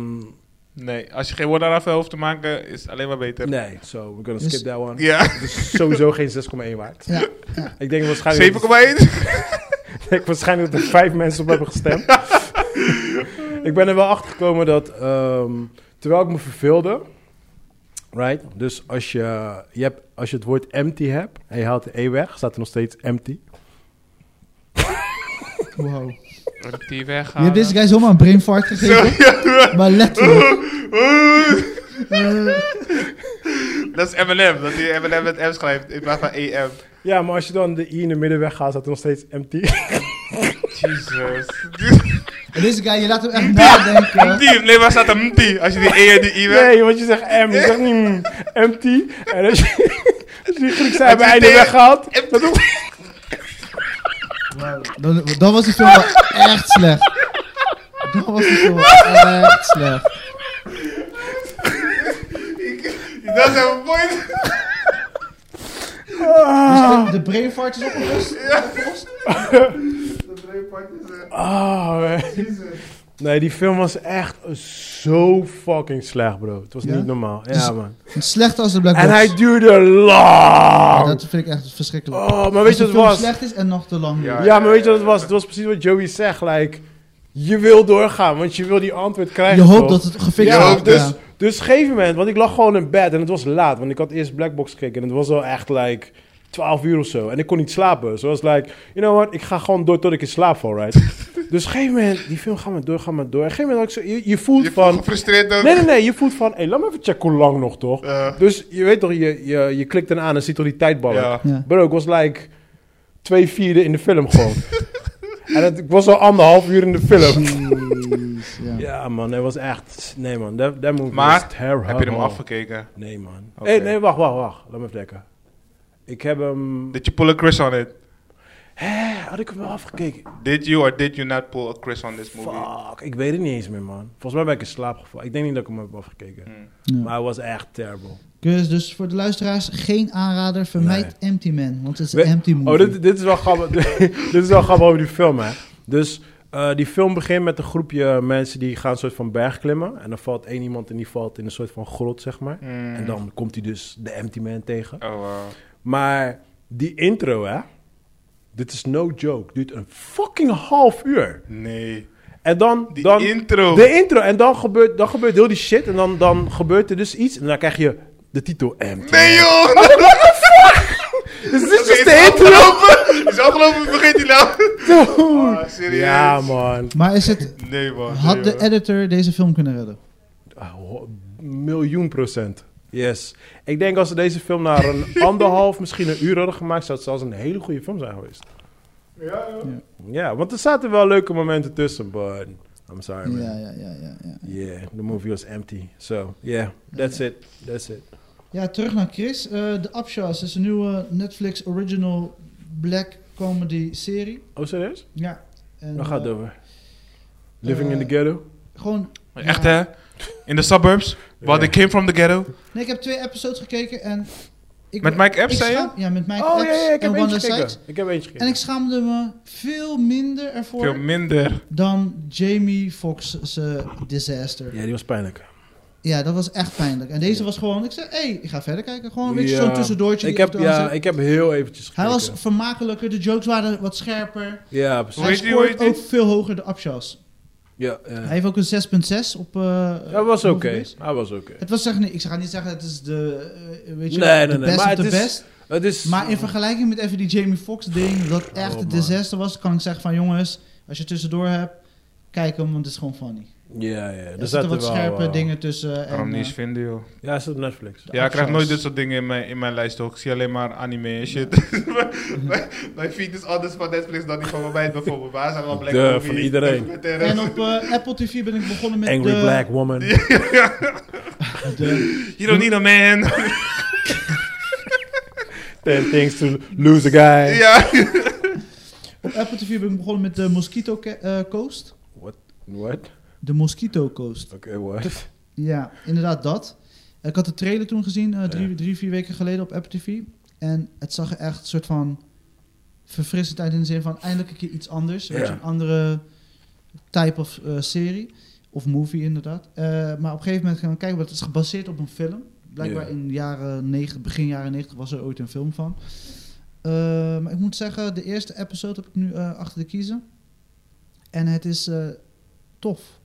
Nee, als je geen woord aan haar hoeft te maken, is het alleen maar beter. nee, so we're gonna Dus- skip that one. Ja, Het is sowieso geen 6,1 waard. Ja, Ik denk waarschijnlijk... 7,1. Ik denk waarschijnlijk dat er vijf mensen op hebben gestemd. ik ben er wel achter gekomen dat ehm, terwijl ik me verveelde. Right? Dus als je, je hebt, als je het woord empty hebt en je haalt de E weg, staat er nog steeds empty. wow. Die Je hebt deze guys helemaal een brain fart gegeven. Maar letterlijk. Dat is Eminem, dat hij Eminem met M schrijft in plaats van E EM. Ja, maar als je dan de I in de midden weghaalt, staat er nog steeds empty. Jesus. En deze guy, je laat hem echt nadenken. Die, nee, waar staat een MT? Als je die E en die I weg... Nee, want je zegt M, je zegt niet mm, empty. En als je, als je die Griekse Als je hebben einde tegen- weghaalt, dan doe Dan, dan was die film wel echt slecht. Dan was die film wel echt slecht. Dat is een point. Dus de, de brain fart is opgelost. opgelost. Ah, man. Nee, die film was echt zo fucking slecht, bro. Het was Ja? niet normaal. Ja, Dus- man. Slechter als de Black Box. En hij duurde Ja, lang. dat vind ik echt verschrikkelijk. Oh, maar weet je Als wat het die film was? slecht is en nog te lang. Ja. duurt. Ja, maar weet je wat het was? Het was precies wat Joey zegt. Like, je wil doorgaan, want je wil die antwoord Je krijgen. hoopt toch? dat het gefixt Ja, Je wordt. hoopt dus, ja. dus op een gegeven moment, want ik lag gewoon in bed en het was laat. Want ik had eerst Blackbox gekeken en het was al echt like 12 uur of zo. En ik kon niet slapen. Zo was like, you know what, ik ga gewoon door tot ik in slaap val, right? dus op een gegeven moment, die film gaat maar door, gaat maar door. En op een gegeven moment, had ik zo, je, je voelt Je voelt van... gefrustreerd ook. Nee, nee, nee. Je voelt van, hé, laat me even checken hoe lang nog, toch? Eh, Dus je weet toch, je, je, je klikt dan aan en ziet toch die tijdballen. ja. Ja. Bro, ik was like twee vierde in de film gewoon. en het, ik was al anderhalf uur in de film. Jeez, ja. Ja, man, hij was echt... Nee, man, dat dat movie Maar, was terrible. Heb je hem afgekeken? Nee, man. Oké. Hey, nee, wacht, wacht, wacht. Laat me even denken. Ik heb hem... Did you pull a Chris on it? Hè? had ik hem wel afgekeken. Did you or did you not pull a Chris on this movie? Fuck, ik weet het niet eens meer, man. Volgens mij ben ik in slaap gevallen. Ik denk niet dat ik hem heb afgekeken. Hmm. Ja. Maar hij was echt terrible. Dus, dus voor de luisteraars, geen aanrader, vermijd Empty Man, want het is een We- empty movie. Oh, dit, dit is wel grappig. dit is wel grappig over die film, hè. Dus eh, die film begint met een groepje mensen die gaan een soort van berg klimmen. En dan valt één iemand en die valt in een soort van grot, zeg maar. Hmm. En dan komt hij dus de Empty Man tegen. Oh, wow. Maar die intro, hè. Dit is no joke. Duurt een fucking half uur. Nee. En dan... Die dan intro. De intro. En dan gebeurt, dan gebeurt heel die shit. En dan, dan gebeurt er dus iets. En dan krijg je de titel Empty Man. nee, joh! Dus dit is Is dus de intro. afgelopen? Is afgelopen? Vergeet die nou? Ah, serieus? Ja, man. Maar is het, Nee, man. had nee, de man. editor deze film kunnen redden? Ah, ho- miljoen procent. Yes. Ik denk als ze deze film naar een anderhalf, misschien een uur hadden gemaakt, zou het zelfs een hele goede film zijn geweest. Ja, joh. Ja, want er zaten wel leuke momenten tussen, but I'm sorry man. Ja, Yeah, ja, ja, ja, ja. the movie was empty. So, yeah, that's it. That's it. Ja, terug naar Chris. Eh The Upshaws is een nieuwe Netflix original black comedy serie. Oh, serieus? Ja. En, Waar gaat het eh, over? Living in eh, the ghetto? Gewoon... Echt, Ja. hè? In de suburbs? While they Ja. came from the ghetto? Nee, ik heb twee episodes gekeken en... Ik, Met Mike Epps, ik zei je? schaam- Ja, met Mike Oh, Epps ja, ja, ik heb eh, en eentje Wanda gekeken. Sykes. Ik heb eentje En ik gekeken. schaamde me veel minder ervoor Veel minder. dan Jamie Foxx's eh, Disaster. Ja, die was pijnlijk. Ja, dat was echt pijnlijk. En deze was gewoon... Ik zei, hé, hey, ik ga verder kijken. Gewoon een beetje Ja, zo'n tussendoortje. Ik die heb, af en toe aan ja, zit. ik heb heel eventjes gekeken. Hij was vermakelijker. De jokes waren wat scherper. Ja, precies. Hoe Hij heet die, hoe scoort heet ook die? veel hoger de upshots. Ja, ja. Hij heeft ook een 6.6 op... eh Hij was op oké. Moviebase. Hij was oké. Het was echt niet... Ik ga niet zeggen het is de... eh, weet je, Nee, nee, de nee, best maar of de het is- best. Het is... Maar in vergelijking met even die Jamie Foxx ding... dat echt Oh, een man. disaster was... kan ik zeggen van jongens... als je tussendoor hebt... kijk hem, want het is gewoon funny. Ja, ja. Er Er zitten wat wel, scherpe eh, dingen tussen. En, Waarom niet eh, eens vinden, joh? Ja, hij staat op Netflix. Ja, ik krijg nooit dit dus. soort dingen in mijn, in mijn lijst ook. Ik zie alleen maar anime en shit. mijn, mijn feed is anders van Netflix dan die van mij bijvoorbeeld. Waar zijn wel black De, movies, van iedereen. documentaires. En op eh, Apple TV ben ik begonnen met Angry de, Black Woman. de- You don't need a man. Ten things to lose a guy. ja. op Apple TV ben ik begonnen met de Mosquito Ca- eh, Coast. What? De Mosquito Coast. Oké, what? Ja, inderdaad dat. Ik had de trailer toen gezien, eh, drie, Ja. drie, vier weken geleden op Apple TV. En het zag er echt een soort van verfrissend uit in de zin van eindelijk een keer iets anders. Weet je, Ja. een andere type of eh, serie. Of movie inderdaad. Eh, maar op een gegeven moment gaan we kijken, want het is gebaseerd op een film. Blijkbaar Ja. in jaren 90, begin jaren 90 was er ooit een film van. Eh, maar ik moet zeggen, de eerste episode heb ik nu eh, achter de kiezen. En het is eh, tof.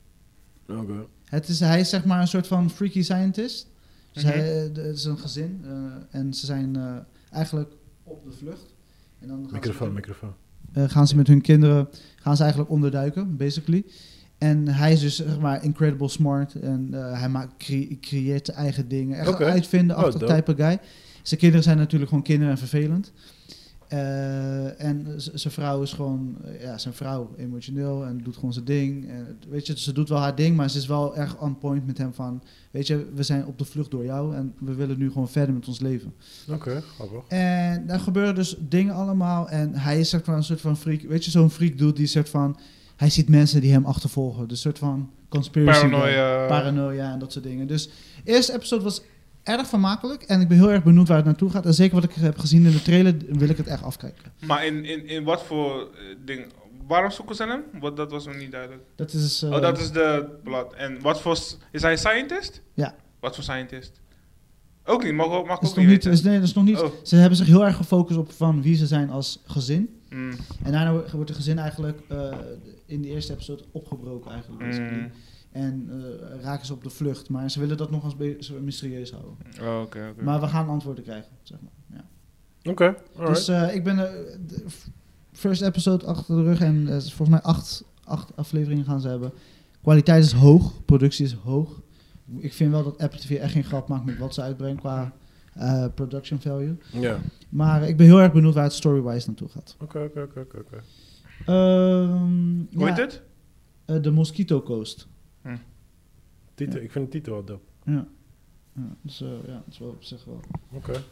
Oké. Het is, hij is zeg maar een soort van freaky scientist. Dus Mhm. hij, eh, d- het is een gezin eh, en ze zijn eh, eigenlijk op de vlucht. En dan gaan, Microfoon, ze, met- microfoon. eh, gaan ze met hun kinderen gaan ze eigenlijk onderduiken, basically. En hij is dus zeg maar incredible smart en eh, hij maakt, cre- creëert zijn eigen dingen. Echt Oké. een uitvindenachtig Oh, dope. type guy. Zijn kinderen zijn natuurlijk gewoon kinderen en vervelend. Eh, en z- zijn vrouw is gewoon, eh, ja, zijn vrouw emotioneel en doet gewoon zijn ding. En, het- weet je, ze doet wel haar ding, maar ze is wel erg on point met hem van, weet je, we zijn op de vlucht door jou en we willen nu gewoon verder met ons leven. Oké, grappig. En daar gebeuren dus dingen allemaal en hij is zeg maar een soort van freak, weet je, zo'n freak doet die soort van, hij ziet mensen die hem achtervolgen, dus een soort van conspiracy. guy Paranoia. paranoia en dat soort dingen. Dus de eerste episode was erg vermakelijk. En ik ben heel erg benieuwd waar het naartoe gaat. En zeker wat ik heb gezien in de trailer, wil ik het echt afkijken. Maar in, in, in wat voor eh, ding? Waarom zoeken ze hem? Wat, dat was nog niet duidelijk. Dat is... eh, oh, dat is de blad. En wat voor... s- Is hij een scientist? Ja. Wat voor scientist? Ook niet, mag, ook- mag is ook nog niet niet, weten. is, nee, dat is nog niet. Oh. Ze hebben zich heel erg gefocust op van wie ze zijn als gezin. Mm, En daarna wo- wordt het gezin eigenlijk eh, in de eerste episode opgebroken eigenlijk. basically. mm. En eh, raken ze op de vlucht. Maar ze willen dat nog als be- zo mysterieus houden. Oh, oké, oké. Maar we gaan antwoorden krijgen, zeg maar. Ja. Oké, alright. Dus eh, ik ben eh, de f- first episode achter de rug en eh, volgens mij acht, acht afleveringen gaan ze hebben. Kwaliteit is hoog, productie is hoog. Ik vind wel dat Apple TV echt geen grap maakt met wat ze uitbrengt qua eh, production value. Ja. Maar ik ben heel erg benieuwd waar het story-wise naartoe gaat. Oké, oké, oké, oké, oké. Ehm, ja, Hoe heet het? eh, de Mosquito Coast. Titel, Ja. ik vind de titel wel dope. Ja. Ja, dus eh, ja, dat is wel op zich wel. Oké. Ja,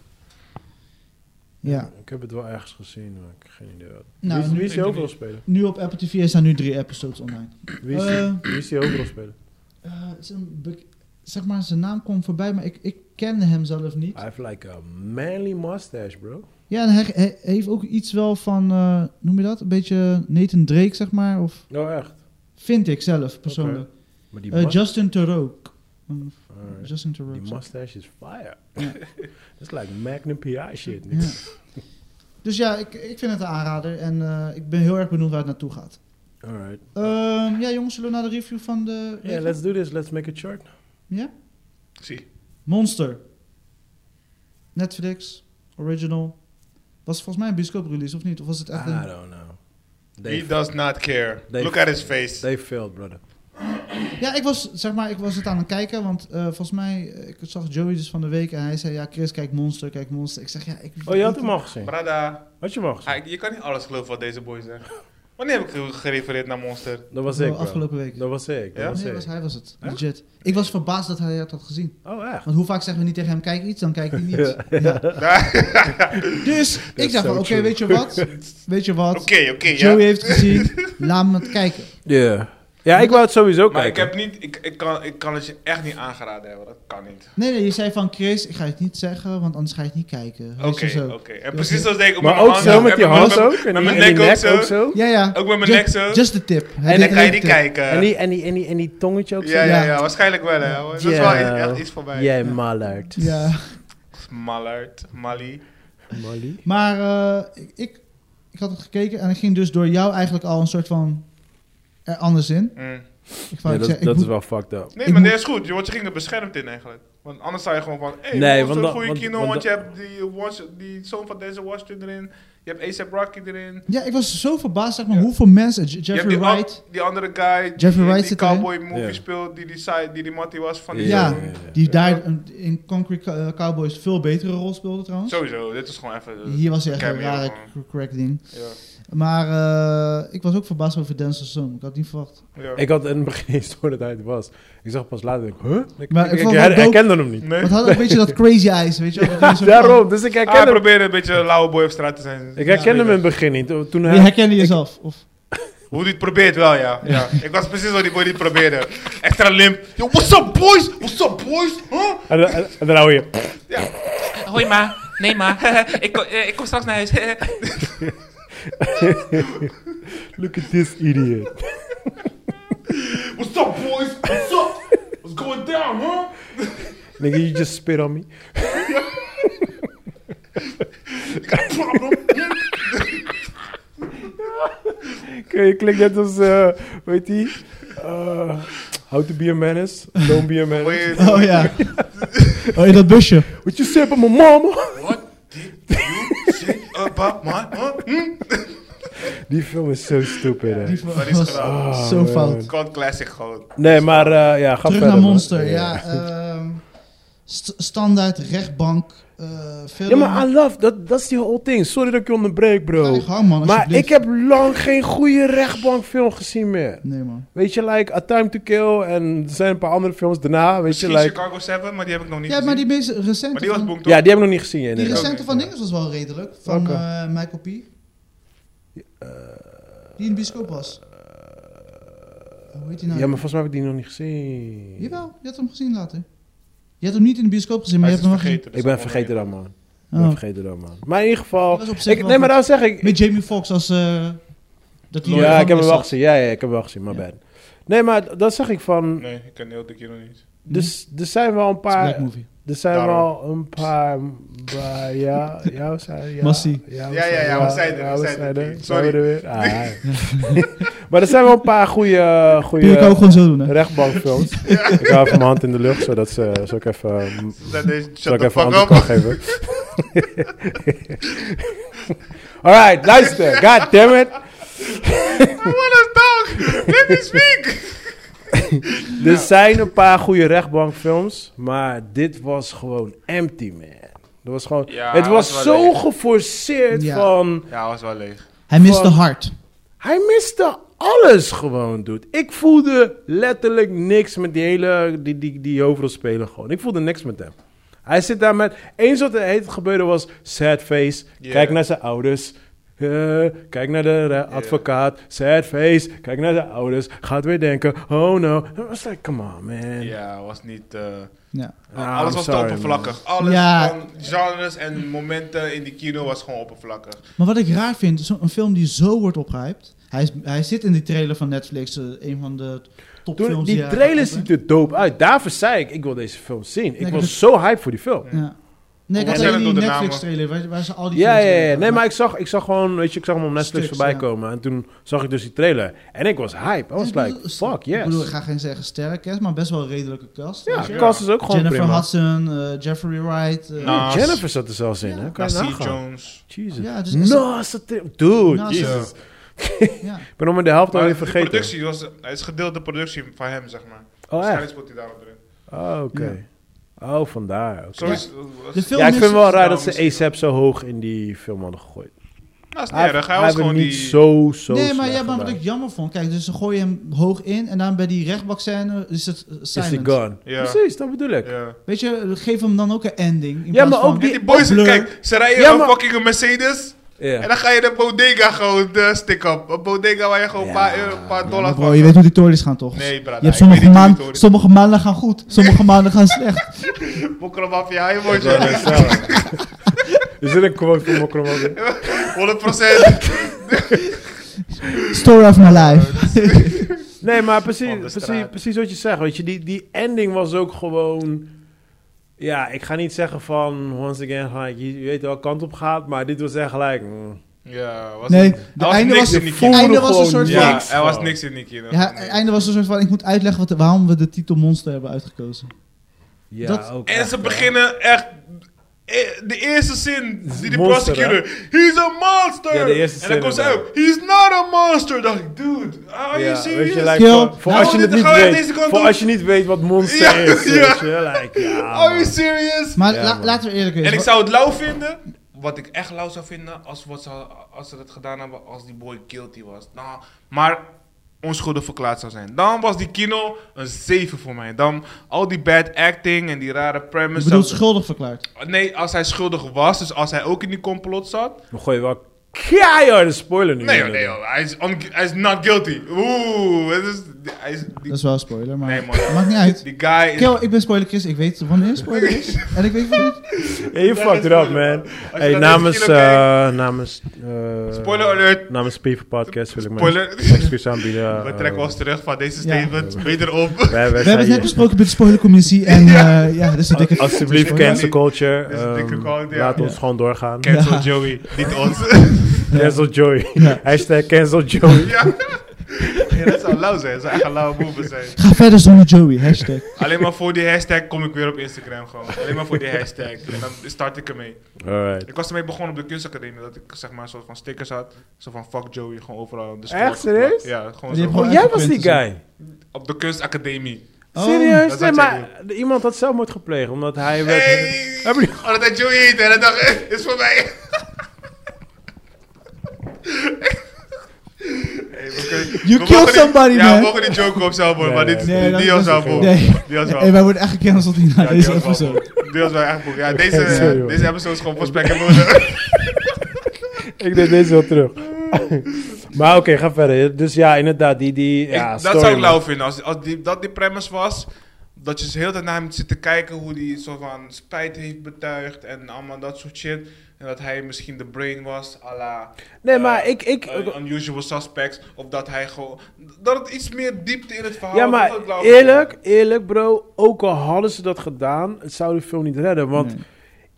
Ja. Ik heb het wel ergens gezien, maar ik heb geen idee wat. Nou, wie, is- wie is die nu- overal spelen? Nu op Apple TV staan nu drie episodes online. Wie is, Eh. die, wie is die overal spelen? Eh, het is een bek- zeg maar, zijn naam kwam voorbij, maar ik, ik kende hem zelf niet. Hij heeft like a manly mustache, bro. Ja, en hij, hij heeft ook iets wel van, eh, noem je dat? Een beetje Nathan Drake, zeg maar. Of Nou echt. vind ik zelf, persoonlijk. Maar die, Eh, must- Justin Theroux. Mm, Alright. Justin Theroux. die mustache is fire. Ja. Dat is like Magnum P.I. shit. Ja. nigga. Dus ja, ik, ik vind het een aanrader. En eh, ik ben heel erg benieuwd waar het naartoe gaat. Alright. Uh, Ehm, ja, jongens, zullen we naar de review van de... Yeah, let's do this. Let's make it short. Ja? Zie. Monster. Netflix. Original. Was volgens mij een bioscoop release, of niet? Of was het echt een... I don't know. They, He does not care. They- Look at his face. they failed, brother. Ja, ik was, zeg maar, ik was het aan het kijken, want eh, volgens mij, eh, ik zag Joey dus van de week en hij zei, ja Chris, kijk Monster, kijk Monster. Ik zeg, ja, ik... Oh, je had hem al gezien? Brada, Had je hem al gezien? hij- je kan niet alles geloven wat deze boy zegt. Wanneer heb ik ge- gerefereerd naar Monster? Dat was Nou, ik, bro. afgelopen week. Dat was ik. Dat Ja? was Nee, ik. was, hij was het. Legit. Ik was verbaasd dat hij het had gezien. Oh, echt? Want hoe vaak zeggen we niet tegen hem, kijk iets, dan kijkt hij niets. Ja. Dus ik dacht so van, oké, true. weet je wat? Weet je wat? Oké, oké, Joey ja. heeft het gezien, laat me het kijken. Ja. Ja, ik wou het sowieso Maar ik kijken. heb niet, ik, ik, kan, ik kan het je echt niet aangeraden hebben. Dat kan niet. Nee, nee, je zei van, Chris, ik ga het niet zeggen, want anders ga je het niet kijken. Weet Oké, je zo. oké. En precies zoals deed ik op Maar mijn ook hand. zo, met En die hand mijn- ook. En die, met mijn en die nek ook nek ook zo. zo. Ja, ja. Ook met mijn Just- nek zo. Just the tip. Hij En deed dan kan je even niet de tip. kijken. En die, en, die, en, die, en die tongetje ook ja, zo. ja, Ja. ja, waarschijnlijk wel hè. hoor. Dat is wel Ja. echt iets voorbij. Jij mallert. Ja. Mallard, Mali. Molly. Maar eh, ik- ik, ik had het gekeken en ik ging dus door jou eigenlijk al een soort van er anders in. Mm. Ik wou dat zeggen, ik dat is moet- wel fucked up. Nee, Ik maar moet- dit is goed. Je, wordt, je ging er beschermd in eigenlijk. Want anders zou je gewoon van... Hey, Nee, nee, want een dan- goede want- kino, want want, je hebt die, Wash- die zoon van deze Washington erin. Je hebt ASAP Rocky erin. Ja, ik was zo verbaasd zeg maar Ja. hoeveel mensen... J- Je hebt Jeffrey die, an- Wright, die andere guy Jeffrey die, in Wright die zit erin. cowboy movie Ja. speelt, die die, side, die die Matty was van die Ja. zoon. die daar een- in Concrete Co- eh, Cowboys een veel betere rol speelde trouwens. Sowieso, dit is gewoon even... eh, Hier was hij echt een cameo rare gewoon. cr- crack ding. Ja. Maar eh, ik was ook verbaasd over Denzel's Zoon. Ik had het niet verwacht. Ja. Ik had in het begin niet door dat hij het was. Ik zag pas later, ik, huh? Ik, Maar ik, ik ik vond het her- wel dope. herkende hem niet. Nee. Want hij had ook een beetje dat crazy eyes, weet je wel. Dat hij zo- Daarom, dus ik Ah, hij herkende hem. probeerde een beetje een lauwe boy op straat te zijn. Ik herkende hem in het begin niet. Toen- Toen Je hij... herkende jezelf. Of, Hoe die het probeert wel, ja. ja. ik was precies wat die boy die het probeerde. Extra limp. Yo, what's up boys? What's up boys? Huh? En dan- en- en dan hou je... Hoi ma, nee ma, ik, kom, eh, ik kom straks naar huis. Look at this idiot. What's up boys? What's up? What's going down, huh? Nigga, you just spit on me. You got a problem? Oké, je klinkt net als, eh, weet je, eh, how to be a menace, don't be a menace. Wait, oh ja. Oh, in dat busje. What you say about my mama? what did you say about my... uh, Huh? Hmm? Die film is zo stupid, hè. Die Dat is was geweldig. zo man. fout. God classic gewoon. Nee, maar eh, ja, ga Dus, Terug verder. naar man. Monster, ja. ehm, st- standaard, rechtbank, eh film. Ja, maar I love, dat dat is die whole thing. Sorry dat ik je onderbreek, Ga bro. je gang, man, Maar alsjeblieft. ik heb lang geen goede rechtbankfilm gezien meer. Nee, man. Weet je, like A Time to Kill en er zijn een paar andere films daarna, weet je, Misschien like... Chicago 7, maar die heb ik nog niet Ja, gezien. maar die meest recente... Maar die was van- boem toch? Ja, die hebben we nog niet gezien, die inderdaad. recent- recente ook van niet, Dinges was wel redelijk. Van Welke? eh, Michael P. Die eh, in de bioscoop was. Hoe heet die nou? Ja, maar volgens mij heb ik die nog niet gezien. Jawel, je had hem gezien later. Je had hem niet in de bioscoop gezien, maar Hij je is hebt hem wel gezien. vergeten. dus Ik ben dat is vergeten wel dan, man. Ik ben Oh. vergeten dan, man. Maar in ieder geval... Dat was op zich Ik, wel nee, maar goed. daar zeg ik... Met Jamie Foxx als... eh, dat hij ja, ik heb hem wel wacht. gezien. Ja, ja, ik heb hem wel gezien. My bad. Nee, maar dat zeg ik weer- van... Nee, ik ken heel de keer nog niet. Hmm? Dus er zijn wel een paar... Black movie. Er zijn Daarom. wel een paar... ba- ja, ja, we zijn... Ja, Massie. Ja, we Ja, ja, zijn- ja, we zijn er, we zijn er. Zijn we Sorry. er weer? Ah, ja. maar er zijn wel een paar goede... Die kan ik ook goede gewoon zo doen, hè? rechtbankfilms. Ik hou even mijn hand in de lucht, zodat ze... Zo ik even... mm, Dat is- Zal Shut ik the even fuck antwoord kan up. geven? Alright, luister. God damn it. I wanna talk! Let me speak! Er zijn een paar goede rechtbankfilms, maar dit was gewoon empty, man. Dat was gewoon, Ja, het was, dat is wel zo leeg. geforceerd Ja. van... Ja, was wel leeg. Hij miste Van- hard. Hij miste alles gewoon, dude. Ik voelde letterlijk niks met die hele... Die, die, die hoofdrolspeler gewoon. Ik voelde niks met hem. Hij zit daar met... Eens wat er heet gebeurde was sad face. Ja. Kijk naar zijn ouders. Eh, kijk naar de eh, advocaat. Sad face. Kijk naar zijn ouders. Gaat weer denken. Oh no. I was like, come on man. Ja, was niet... eh, Ja. Ah, alles I'm was te sorry, oppervlakkig. Alles Ja. van genres en momenten in de kino was gewoon oppervlakkig. Maar wat ik raar vind, is een film die zo wordt opgehyped. Hij, is, hij zit in die trailer van Netflix, eh, een van de topfilms. Toen, die die er trailer uitkomen. ziet er dope uit. Daarvoor zei ik, ik wil deze film zien. Ik Nee, was dus- zo hype voor die film. Ja. Nee, ik Hoe had zijn alleen die het door de namen? Netflix trailer waar, waar ze al die Ja, films ja, in ja. hebben. Nee, maar ik zag, ik zag gewoon, weet je, ik zag hem op Netflix Stuks, voorbij ja. komen. En toen zag ik dus die trailer. En ik was hype. I was Ik bedoel, like, st- fuck, Ik bedoel, ik yes. ga geen zeggen sterke cast, maar best wel een redelijke cast. Ja, weet je. de cast is ook gewoon Jennifer prima. Hudson, eh, Jeffrey Wright. eh, Nou, Nas. Jennifer zat er zelfs in, Ja. hè? Kan je Nassie nagaan. Jones. Jesus. Ja, dus is- Nas, dat tri- Dude, Nas, Jesus. ja. Ik ben nog maar de helft Maar alweer de vergeten. productie was, het is gedeelde productie van hem, zeg maar. Oh, echt? Waarschijnlijk speelt hij daarop erin. Oh, oké. Oh, vandaar. oké. Zo Ja. is, De film Ja, ik is- vind het wel raar Nou, dat ze misschien ASAP zo hoog in die film hadden gegooid. Nou, is niet Hij, erg. Hij hij was heeft gewoon het niet die... zo, zo nee, maar, slecht ja, maar wat gedaan. ik jammer vond, kijk, dus ze gooien hem hoog in en dan bij die rechtbakscène is het eh, Is de silent. gun. Ja. Precies, dat bedoel ik. Ja. Weet je, geef hem dan ook een ending. Ja, in maar plaats van- ook En Die die boys, blur. kijk, ze rijden Ja, een maar- fucking Mercedes. Ja. En dan ga je de bodega gewoon de stick op. Een bodega waar je gewoon een Ja. paar, euro, een paar Ja, maar dollar bro, je weet hoe die tories gaan toch? Nee, brada. je hebt ik weet sommige, niet hoe maan- die toren- sommige maanden gaan goed, sommige maanden gaan slecht. Mokro Mafia, je wordt Ja, dat is wel. Is dit een quote van Mokromani? 100 procent. Story of my life. Nee, maar precies, Van de precies, straat. precies wat je zegt. Weet je, die, die ending was ook gewoon. Ja, ik ga niet zeggen van once again, gelijk, je, je weet wel, kant op gaat, maar dit was echt gelijk. mm. Ja, was Nee, er de was einde niks was- in die de kino. einde was een soort Ja, niks. er was niks in die kino. Ja, het Nee. einde was een soort van, ik moet uitleggen wat, waarom we de titel Monster hebben uitgekozen. Ja, Dat- ook En echt, ze hè. beginnen echt... eh, De eerste zin die de Monster, prosecutor... He's a monster! Ja, de eerste en zin dan komt ze inderdaad. uit. He's not a monster! dacht ik, dude, are Ja, you weet serious? je, like, Yo, voor, voor nou, als je dit het niet gaan we weet, deze kant voor op. als je niet weet wat monster Ja, is, ja. weet Oh, je, like, ja, are you man. serious? Maar Ja, la- man. laten we eerlijk wezen. En ik zou het lauw vinden. Wat ik echt lauw zou vinden als, wat ze, als ze dat gedaan hebben als die boy guilty was. Nou, maar onschuldig verklaard zou zijn. Dan was die kino een 7 voor mij. Dan al die bad acting en die rare je premise. bedoelt zou- schuldig verklaard. nee, als hij schuldig was, dus als hij ook in die complot zat. We gooien wel keiharde spoiler nu. Nee, in, joh, nee, hè. joh, hij, is on- hij is not guilty. Oeh, het is, hij is, die, Dat is wel een spoiler, maar Nee, man. maakt niet uit. die guy is... Dus- Kill, ik ben spoiler Chris, ik weet wanneer spoiler is. En ik weet wanneer. Hey, je fucked it up, man. Als Hey, je naar deze namens, kilo eh namens, eh, Spoiler alert. Namens P voor Podcast wil ik mijn Spoiler. excuus aanbieden. We Eh, trekken ons terug van Ja. deze statement. Beter op. wij, wij We hebben zijn het net hier. besproken bij de spoilercommissie en eh, ja, dit is een dikke... Alsjeblieft, Dit is cancel niet- culture. dit is een dikke Ehm, quote, ja. Laat Ja. ons gewoon doorgaan. Cancel Joey, niet ons. Cancel Joey. Ja. Hashtag cancel Joey. ja. Ja, dat zou lauw zijn. Dat zou echt een lauwe move zijn. Ga verder zonder Joey, hashtag. Alleen maar voor die hashtag kom ik weer op Instagram gewoon. Alleen maar voor die hashtag. En dan start ik ermee. Alright. Ik was ermee begonnen op de kunstacademie. Dat ik zeg maar een soort van stickers had. Zo van fuck Joey, gewoon overal. op de school Echt, geplakt. serieus? Ja, gewoon Die zo. hebben Oh, jij was die guy. Op de kunstacademie. Oh. Serieus? Dat Nee, had jij maar iemand had zelfmoord gepleegd omdat hij werd... Hey! Hebben jullie- Oh, dat hij Joey heette. En dan dacht ik, is voor mij. Hey, we kunnen- You we killed mogen niet- somebody, ja, man. we mogen niet joken op zelfmoord, Nee, maar nee, dit, nee, dat- die dat was is zelfmoord. Nee. Die was wel. Hey, wij worden echt gecanceld hierna, Ja, deze die was wel episode. goed. Die was wel echt goed. Ja, deze, Oké, sorry, hoor. deze episode is gewoon voor spek en woorden. Ik deed deze wel terug. maar oké, ga verder. Dus ja, inderdaad, die... die ja, Ik- story, dat zou ik man. lauw vinden. Als, als die, dat die premise was, dat je de hele tijd naar hem zit te kijken hoe hij zo van spijt heeft betuigd en allemaal dat soort shit. En dat hij misschien de brain was, à la Nee, eh, maar ik... ik eh, Unusual Suspects. Of dat hij gewoon... Dat het iets meer diepte in het verhaal... Ja, Oh, dat maar zou ik lauw vinden. eerlijk, eerlijk bro, ook al hadden ze dat gedaan, het zou de film niet redden. Want Nee.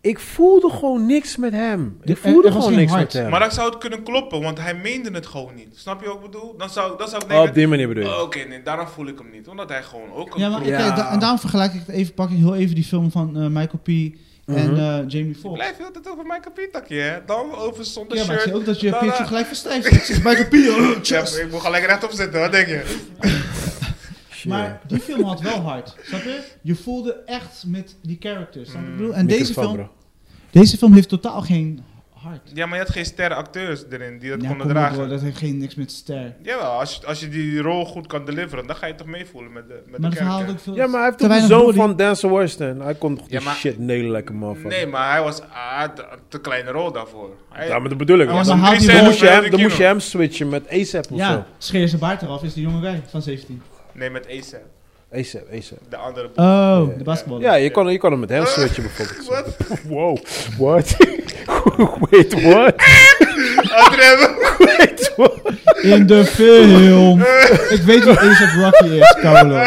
ik voelde gewoon niks met hem. Er- Ik voelde er was gewoon geen niks hart. met hem. Maar dan zou het kunnen kloppen, want hij meende het gewoon niet. Snap je wat ik bedoel? Dan zou, dan zou ik Oh, denken... op die manier bedoel je. Oké, nee, daarom voel ik hem niet. Omdat hij gewoon ook een Ja, maar crew- Ja. Kijk, da- en daarom vergelijk ik het even, pak ik heel even die film van eh, Michael P. en eh, Jamie Foxx. Blijf heel de tijd over mijn kapietakje, hè? Dan over zonder Ja, maar ik shirt. zie ook dat je dan, Peertje eh, gelijk verstijft. Ik zeg, Michael P. oh, ja, chest. maar ik moet gelijk rechtop zitten, wat denk je? Shit. Maar die film had wel hard, snap je? Je voelde echt met die characters. snap je wat ik bedoel? En Microfoon, deze film, bro. deze film heeft totaal geen hard. Ja, maar je had geen sterrenacteurs erin die dat Ja, konden kom op, dragen. hoor, dat heeft geen niks met ster. Jawel, als je, als je die rol goed kan deliveren, dan ga je toch meevoelen met de, maar met dat de verhaal kerk. ook veel. Ja, maar hij heeft te toch de weinig zoon body. van Denzel Washington. Hij kon toch Ja, die maar- shit nelen lekker man Nee, maar hij was hij had een te kleine rol daarvoor. Hij, Ja, maar dat bedoel ik. hij Want was Dan, maar een haalt drie hij- dan dan sterren moest je bij hem, de dan moest je kino. hem switchen met ASAP of ja, zo. scheer zijn baard eraf is die jonge guy van 17. Nee, met ASAP. ASAP, ASAP. De andere boek. Oh, de basketballer. Ja, je kon, je kon hem met hem switchen bijvoorbeeld. Wat? Wow, what? Wait, what? Adrem. Wait, what? In de film. Ik weet wat A$AP Rocky is, Carlo.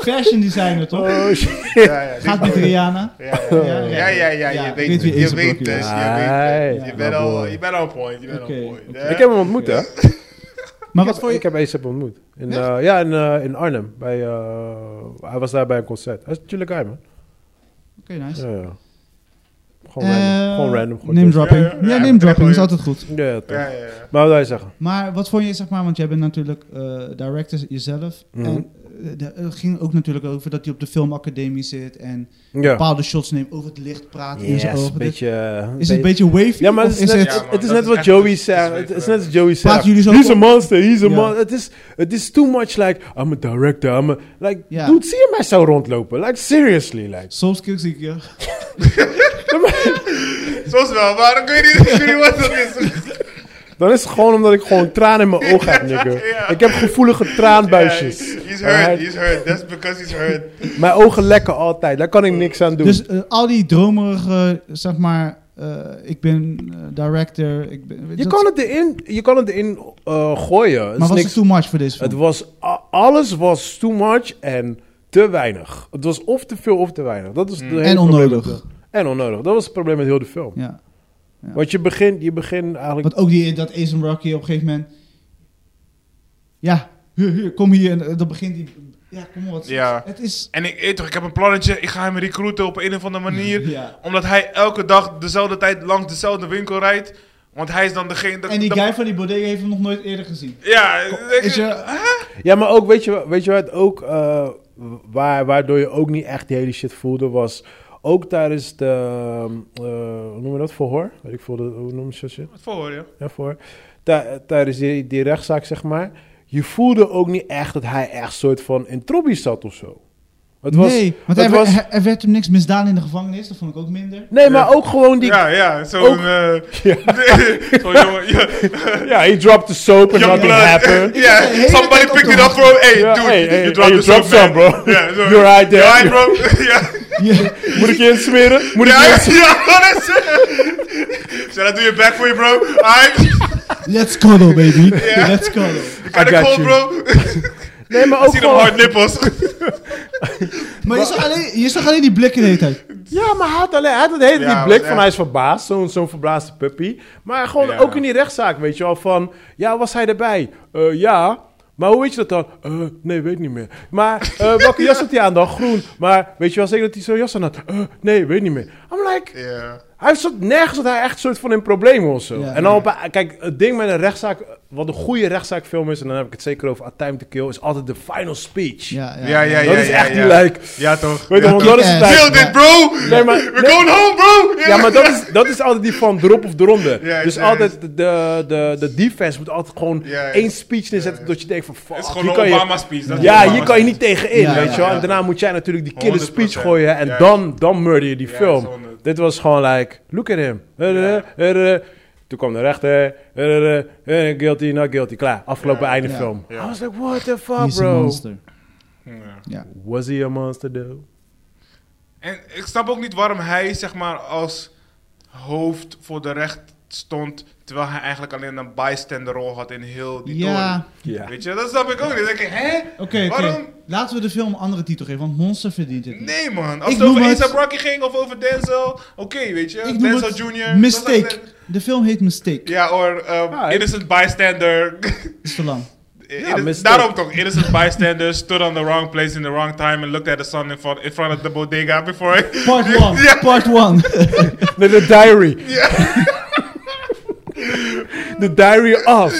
Fashion designer, toch? Oh, shit. Ja, ja, dit- Oh. Gaat met Rihanna. ja, ja, ja, ja, ja, ja, Ja, je ik weet weet het. wie Je A$AP weet Rocky het. Je is. weet het. Ah, Je bent al- boy. Je bent al op point. Je bent al Oké, point. oké. Ja. Ik heb hem ontmoet, hè? Maar Ik wat heb- voor je... Ik heb ASAP ontmoet. In, eh, ja, in, eh, in Arnhem. Bij, eh, hij was daar bij een concert. Hij is natuurlijk guy, man. Oké, nice. Ja, ja. Gewoon random. Eh, Gewoon random. Gewoon Name dus. dropping. Ja, Ja, ja, ja. name dropping is Ja. altijd goed. Ja, ja, toch. Ja, ja, ja. Maar wat wil je zeggen? Maar wat vond je, zeg maar, want jij bent natuurlijk eh director jezelf. Mhm. En eh, de- het ging ook natuurlijk over dat hij op de filmacademie zit en Ja. bepaalde shots neemt over het licht praat in zijn Yes, ogen. Dus een beetje... eh, is het een beetje wavy? Ja, maar of het is, net, Ja, man, het is dat net is wat echt- Joey het is zegt. weten, Het is hè. net wat Joey zegt. jullie zo He's a gewoon- monster, he's a Ja. monster. Het is, het is too much like, I'm a director, I'm a... Like, Ja. dude, zie je mij zo rondlopen? Like, seriously, like. Soms kies ik ja. Soms wel, maar ik weet niet, ik weet niet wat dat is. Dan is het gewoon omdat ik gewoon tranen in mijn ogen heb, nigger. Ja. Ik heb gevoelige traanbuisjes. Ja, he's Alright? hurt, he's hurt. That's because he's hurt. Mijn ogen lekken altijd. Daar kan ik niks aan doen. Dus eh, al die dromerige, zeg maar, eh, ik ben eh, director. Ik ben, je, kan het erin, je kan het erin eh, gooien. Het is maar was niks- het too much voor deze film? het was, a- alles was too much en te weinig. Het was of te veel of te weinig. Dat is het Mm. hele en probleem met onnodig. de- En onnodig. Dat was het probleem met heel de film. Ja. Ja. Want je begint je begint eigenlijk... Want ook die, dat Ace Rocky op een gegeven moment. Ja, hier, hier, kom hier. En eh, dan begint die. Ja, kom op. Het, Ja. het is. En ik, eh, toch, ik heb een plannetje. Ik ga hem recruiten op een of andere manier. Ja. Omdat hij elke dag dezelfde tijd langs dezelfde winkel rijdt. Want hij is dan degene... dat- En die dat- guy van die bodega heeft hem nog nooit eerder gezien. Ja, ik- Is je, Ja, maar ook, weet je, wa- weet je wat ook, eh, waar, waardoor je ook niet echt die hele shit voelde, was ook tijdens de, eh, hoe noem je dat, verhoor? Weet ik veel, de- hoe noem je dat shit? Wat voor hoor je? Ja, verhoor. Tij- tijdens die, die rechtszaak, zeg maar, je voelde ook niet echt dat hij echt soort van in trobby zat of zo. Het was, nee, want het er, was- er- er werd hem niks misdaan in de gevangenis. Dat vond ik ook minder. nee, maar ook gewoon die... Ja, Ja, ja, Oh, zo'n... Ook- eh Ja. zo'n jongen... Ja, he dropped the soap and young nothing blood. happened. Ja, de hele somebody tijd op picked te it up wachten. bro. Hey, Ja, dude, hey, hey, you hey, dropped you the dropped soap, man. some, bro. Ja, zo. You're right there. You're right, bro. ja, Ja. Moet ik je insmeren? Moet ik je ja, insmeren? ja, dat is Should I do your back for you, bro? Alright, Let's cuddle, baby. Let's cuddle. you kinda got cold, you. Oh, bro. Nee, maar I ook see them hard gewoon... nipples. Maar je zag alleen, je zag alleen die blikken de hele tijd. Ja, maar hij had, alleen, hij had het hele Ja, die was blik echt- van hij is verbaasd, zo'n zo'n verbaasde puppy. Maar gewoon Ja. ook in die rechtszaak, weet je wel, van... Ja, was hij erbij? Eh, ja. Maar hoe weet je dat dan? Eh, nee, weet niet meer. Maar eh, welke jas had hij aan dan? Groen. Maar weet je wel zeker dat hij zo'n jas aan had? Eh, nee, weet niet meer. I'm like... Ja. Hij zat nergens dat hij echt soort van in problemen of zo. Ja. en dan op, een- kijk, het ding met een rechtszaak, wat een goede rechtszaakfilm is, en dan heb ik het zeker over A Time to Kill, is altijd de final speech. Ja, ja. Ja, ja, ja. Dat is echt ja. die like. Ja, toch. Weet je, ja, want toch. dat is het Ja. like- Nailed it, bro! Nee, maar- We're going home, bro! Ja, maar dat is, dat is altijd die van drop of de ronde. Ja, dus ja, altijd de, de, de, de defense moet altijd gewoon Ja, ja. één speech neerzetten... dat je denkt van, fuck, Het is hier gewoon kan een je- Obama-speech. dat is ja, een hier kan je niet tegen in, Ja, weet ja, je wel. ja. En daarna moet jij natuurlijk die killer speech 100%. gooien... en Ja. dan, dan murder je die Ja, film. dat is honderd. Dit was gewoon like, look at him. Eh, eh, eh, eh. Toen kwam de rechter, eh, eh, eh, eh, guilty, not guilty, klaar. Afgelopen einde Ja. film. Ja. I was like, what the Hij fuck, is een bro? monster. obama- Ja. Was he a monster, though? En ik snap ook niet waarom hij, zeg maar, als hoofd voor de recht stond... terwijl hij eigenlijk alleen een bystander rol had in heel die Ja. Ja. toren. Weet je, dat snap ik ook niet. Dan denk ik, hè? Oké, oké. Waarom? Laten we de film een andere titel geven, want Monster verdient het niet. Nee, man. Als Ik het over noem het- A$AP Rocky ging of over Denzel... Oké, weet je. Ik noem Denzel het Jr. Mistake. dat- De film heet Mistake. Ja, or um, Ja, ik- Innocent Bystander. Is te lang. Inno- mistake. daarom toch, innocent bystander stood on the wrong place in the wrong time and looked at the sun in front, in front of the bodega before I... Part 1. Ja. Part 1. Nee, de diary. De diary af.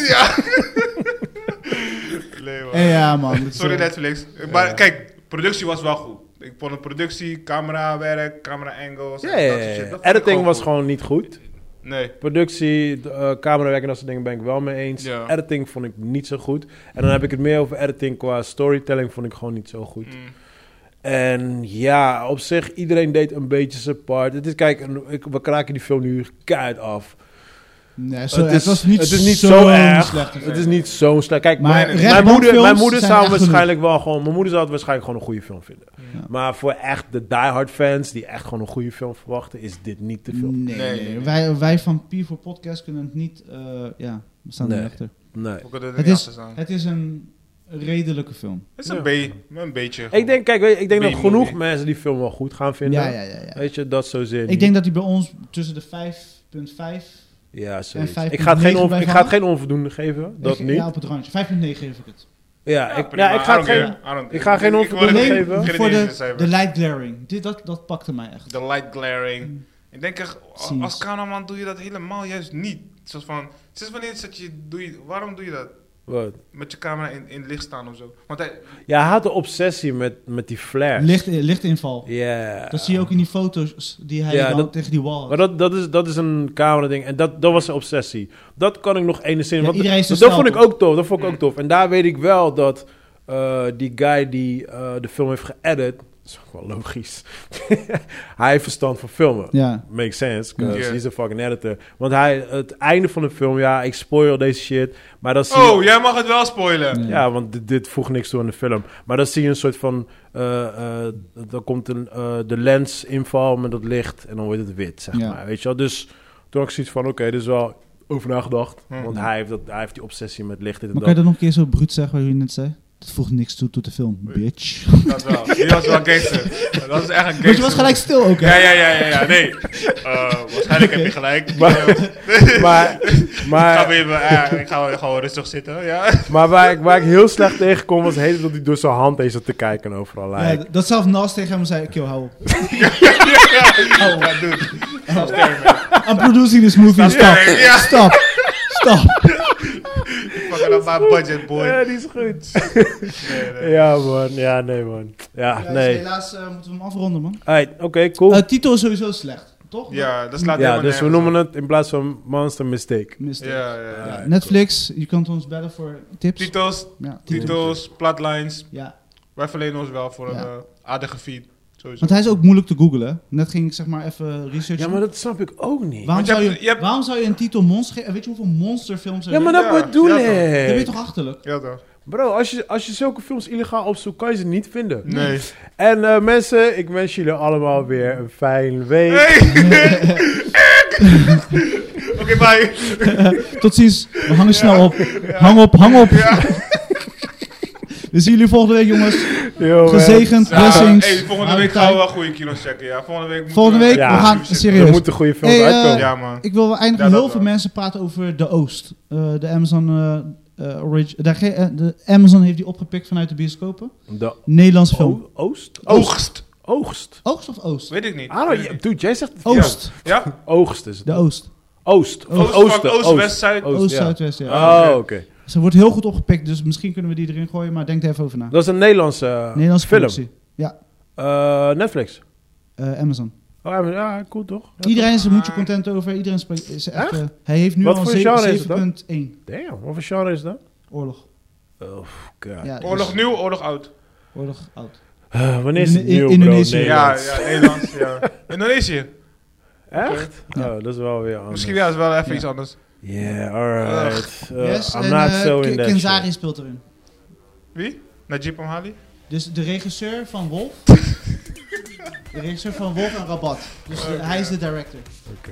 Nee, man. ja, man. dat is, Sorry eh, Netflix. Maar kijk, productie was wel goed. Ik vond de productie, camerawerk, camera angles. Ja, en ja, dat soort ja, ja. shit, dat vond ik Editing was goed. gewoon niet goed. Nee. Productie, d- eh, camerawerk en dat soort dingen ben ik wel mee eens. Ja. Editing vond ik niet zo goed. En dan heb ik het meer over editing qua storytelling vond ik gewoon niet zo goed. Mm. En ja, op zich, iedereen deed een beetje zijn part. Het is, kijk, een- ik, we kraken die film nu keihard af. Nee, zo, het, is- was niet, het is niet zo, zo erg. slecht. Het is niet zo slecht. Kijk, Maar mijn, mijn rechtbankfilms moeder, mijn moeder zijn zou echt waarschijnlijk wel gewoon... Mijn moeder zou het waarschijnlijk gewoon een goede film vinden. Ja. Maar voor echt de diehard fans die echt gewoon een goede film verwachten... is dit niet de Nee, film. nee, Nee, nee. Wij, wij van P4 Podcast kunnen het niet... eh, ja, we staan Nee. er achter. Nee. We kunnen er Het niet is- achter staan. Het is een redelijke film. Het is een, be- maar een beetje. Ik denk, kijk, weet je, ik denk dat B-movie. genoeg mensen die film wel goed gaan vinden. Ja, ja, ja. ja. Weet je, dat zozeer Ik niet. denk dat hij bij ons tussen de 5.5... Ja, zoiets. en Ik ga het geen, 5,9 on- bij ik ga het Vallen? geen onvoldoende geven. Dat Ik- niet. Ja, Ja, op het randje. 5.9 geef ik het. ik, ja, ik ga het geen... ik ga geen onvoldoende Alleen geven. Ik voor wil het de, geven. de light glaring. Dit, dat, dat pakte mij echt. De light glaring. Ik denk echt, a- Scenes. als cameraman doe je dat helemaal juist niet. Zoals van, sinds wanneer zet je, doe je, waarom doe je dat? Wat? Met je camera in, in het licht staan of zo. Want hij, Ja, hij had de obsessie met, met die flares. Licht, lichtinval. Ja. Dat zie je ook in die foto's die hij Ja, dan dat- tegen die wall had. Maar dat, dat, is, dat is een camera-ding. En dat, dat was zijn obsessie. Dat kan ik nog enigszins. Ja, want iedereen is dat zo dat snel, vond ik ook tof. Dat vond ik ook tof. En daar weet ik wel dat eh, die guy die eh, de film heeft geëdit. Dat is ook wel logisch. hij heeft verstand van filmen. Ja. Makes sense, because Ja. he's a fucking editor. Want hij, het einde van de film, ja, ik spoil deze shit. Maar dan zie je- oh, jij mag het wel spoilen. Ja. ja, want dit, dit voegt niks toe aan de film. Maar dan zie je een soort van... eh, eh, dan komt een, eh, de lens inval met dat licht en dan wordt het wit, zeg Ja. maar. Weet je wel? Dus toen had ik zoiets van, oké, dit is wel over nagedacht. Hm. Want hij heeft, dat, hij heeft die obsessie met licht. Dit en Maar kan je dat. dat nog een keer zo bruut zeggen wat je net zei? Dat voegt niks toe tot de film, bitch. Dat wel. Die was wel gangster. Dat is echt een gangster. Maar je was gelijk stil ook, hè? Ja, ja, ja, ja, ja, nee. Eh, waarschijnlijk heb je gelijk. Maar- Maar, ik, ga maar, weer, eh, ik ga weer gewoon rustig zitten, ja. maar waar, ik, waar ik heel slecht tegen kon, was de hele tijd dat hij door zijn hand eens zat te kijken overal. Ja, Like, dat zelf Nas tegen hem zei, kill, hou op. Ja, Oh, dude. Stop staring, man. I'm producing this movie, stop. staring, ja. Stop. Stop. Fucking up my budget, boy. Ja, die is goed. Nee, nee. Ja, man. Ja, nee, man. Ja, Ja, dus nee. helaas eh, moeten we hem afronden, man. Alright, Oké, cool. Eh, titel is sowieso slecht, toch? Ja, dat slaat Ja, helemaal dus we nergens noemen het in plaats van Monster Mistake. Mist. op. Ja, ja, ja. Ja, Netflix, je kunt ons bellen voor tips. Titels, Ja, titel. titels, plotlines. Ja. Wij verlenen ons wel voor een Ja. eh, aardige feed. Sowieso. Want hij is ook moeilijk te googlen. hè? Net ging ik zeg maar even researchen. Ja, maar dat snap ik ook niet. waarom, Want je zou je, hebt- je hebt- waarom zou je een titel monster geven? Weet je hoeveel monsterfilms er Ja, maar zijn? dat Ja, bedoel ja, Dan ben je ik. toch achterlijk? Ja, toch? Bro, als je, als je zulke films illegaal opzoekt, kan je ze niet vinden. Nee. En eh, mensen, ik wens jullie allemaal weer een fijn week. Oké, bye. Tot ziens. We hangen snel op. Hang op, hang op. We zien jullie volgende week, jongens. Yo, man. Gezegend, Ja, blessings. hey, volgende Hou week je gaan we tijd. wel goede kilo's checken. Ja, volgende week. moeten Volgende week, Ja. we gaan Er serieus. moeten goede films Hey, eh, uitkomen. Ja, man. Ik wil wel eindigen. Ja, dat Heel veel wel. mensen praten over de Oost. Eh, de Amazon eh, eh, origi- daar ge- eh, de Amazon heeft die opgepikt vanuit de bioscopen. De Nederlandse film. o- Oost? Oogst. Oogst. Oost of Oost? Weet ik niet. Ah, Weet je- ik niet. dude, jij zegt het Oost. Ja? Oogst is het. De Oost. Oost. Van Oost, Oosten. Oost, Oost. West, Zuid. Oost, ja. Oost-Zuidwest, ja. Oh, oké. Ze wordt heel goed opgepikt, dus misschien kunnen we die erin gooien, maar denk er even over na. Dat is een Nederlandse, eh, Nederlandse film. productie. Ja, Eh, Netflix. eh, Amazon. Oh, ja, ja, cool toch? Ja, Iedereen is er moedje content over. Iedereen spreekt. Is echt, eh, hij heeft nu Wat al voor genre is het dan? een 7.1 Damn, wat voor genre is dat? oorlog. Oh, god. Ja, dus Oorlog nieuw, oorlog oud. Oorlog oud. Eh, wanneer is het In- in- nieuw, bro? Indonesië. Ja, Nederlands. ja, Nederlands. ja. Indonesië. Echt? Ja. Oh, dat is wel weer anders. Misschien ja, is wel even Ja. iets anders. Yeah, alright. Uh, yes, I'm en not eh, so Ki- in that Kenzari shit. speelt erin. Wie? Najib Amhali? Dus de regisseur van Wolf. de regisseur van Wolf en Rabat. Dus de- hij is de director. Oké.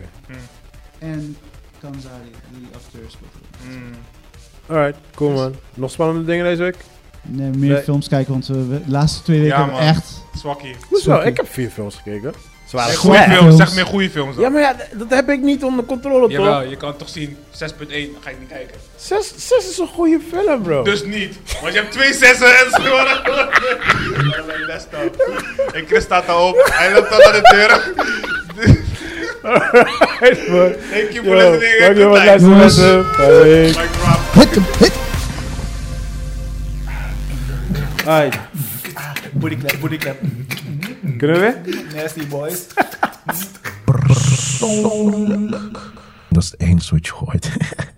En Kanzari, die acteur speelt erin. Hmm. Alright, cool man. Nog spannende dingen deze week? Nee, meer Nee. films kijken, want eh, we- we- de laatste twee weken Ja, hebben we man. echt... Zwakkie. Hoezo? Sorry. Ik heb vier films gekeken. Ze Meer waren goede slecht. film. films. films. Zeg meer goede films dan. Ah, Ja, maar ja, d- dat heb ik niet onder controle, Jawel, toch? je kan het toch zien. 6.1, dan ga ik niet kijken. Zes, zes is een goede film, bro. Dus niet. Want je hebt twee zessen en zo. I like that stuff. En Chris staat al op. Hij loopt al naar de deur. Alright, man. Thank you for Yo, listening. Dankjewel voor het Good night. luisteren, Jongens. mensen. Fijne week. Mic drop. Hit hem, hit! Alright, Booty clap, booty clap. kunnen we weer? Nasty boys. dat is het enige wat je gooit.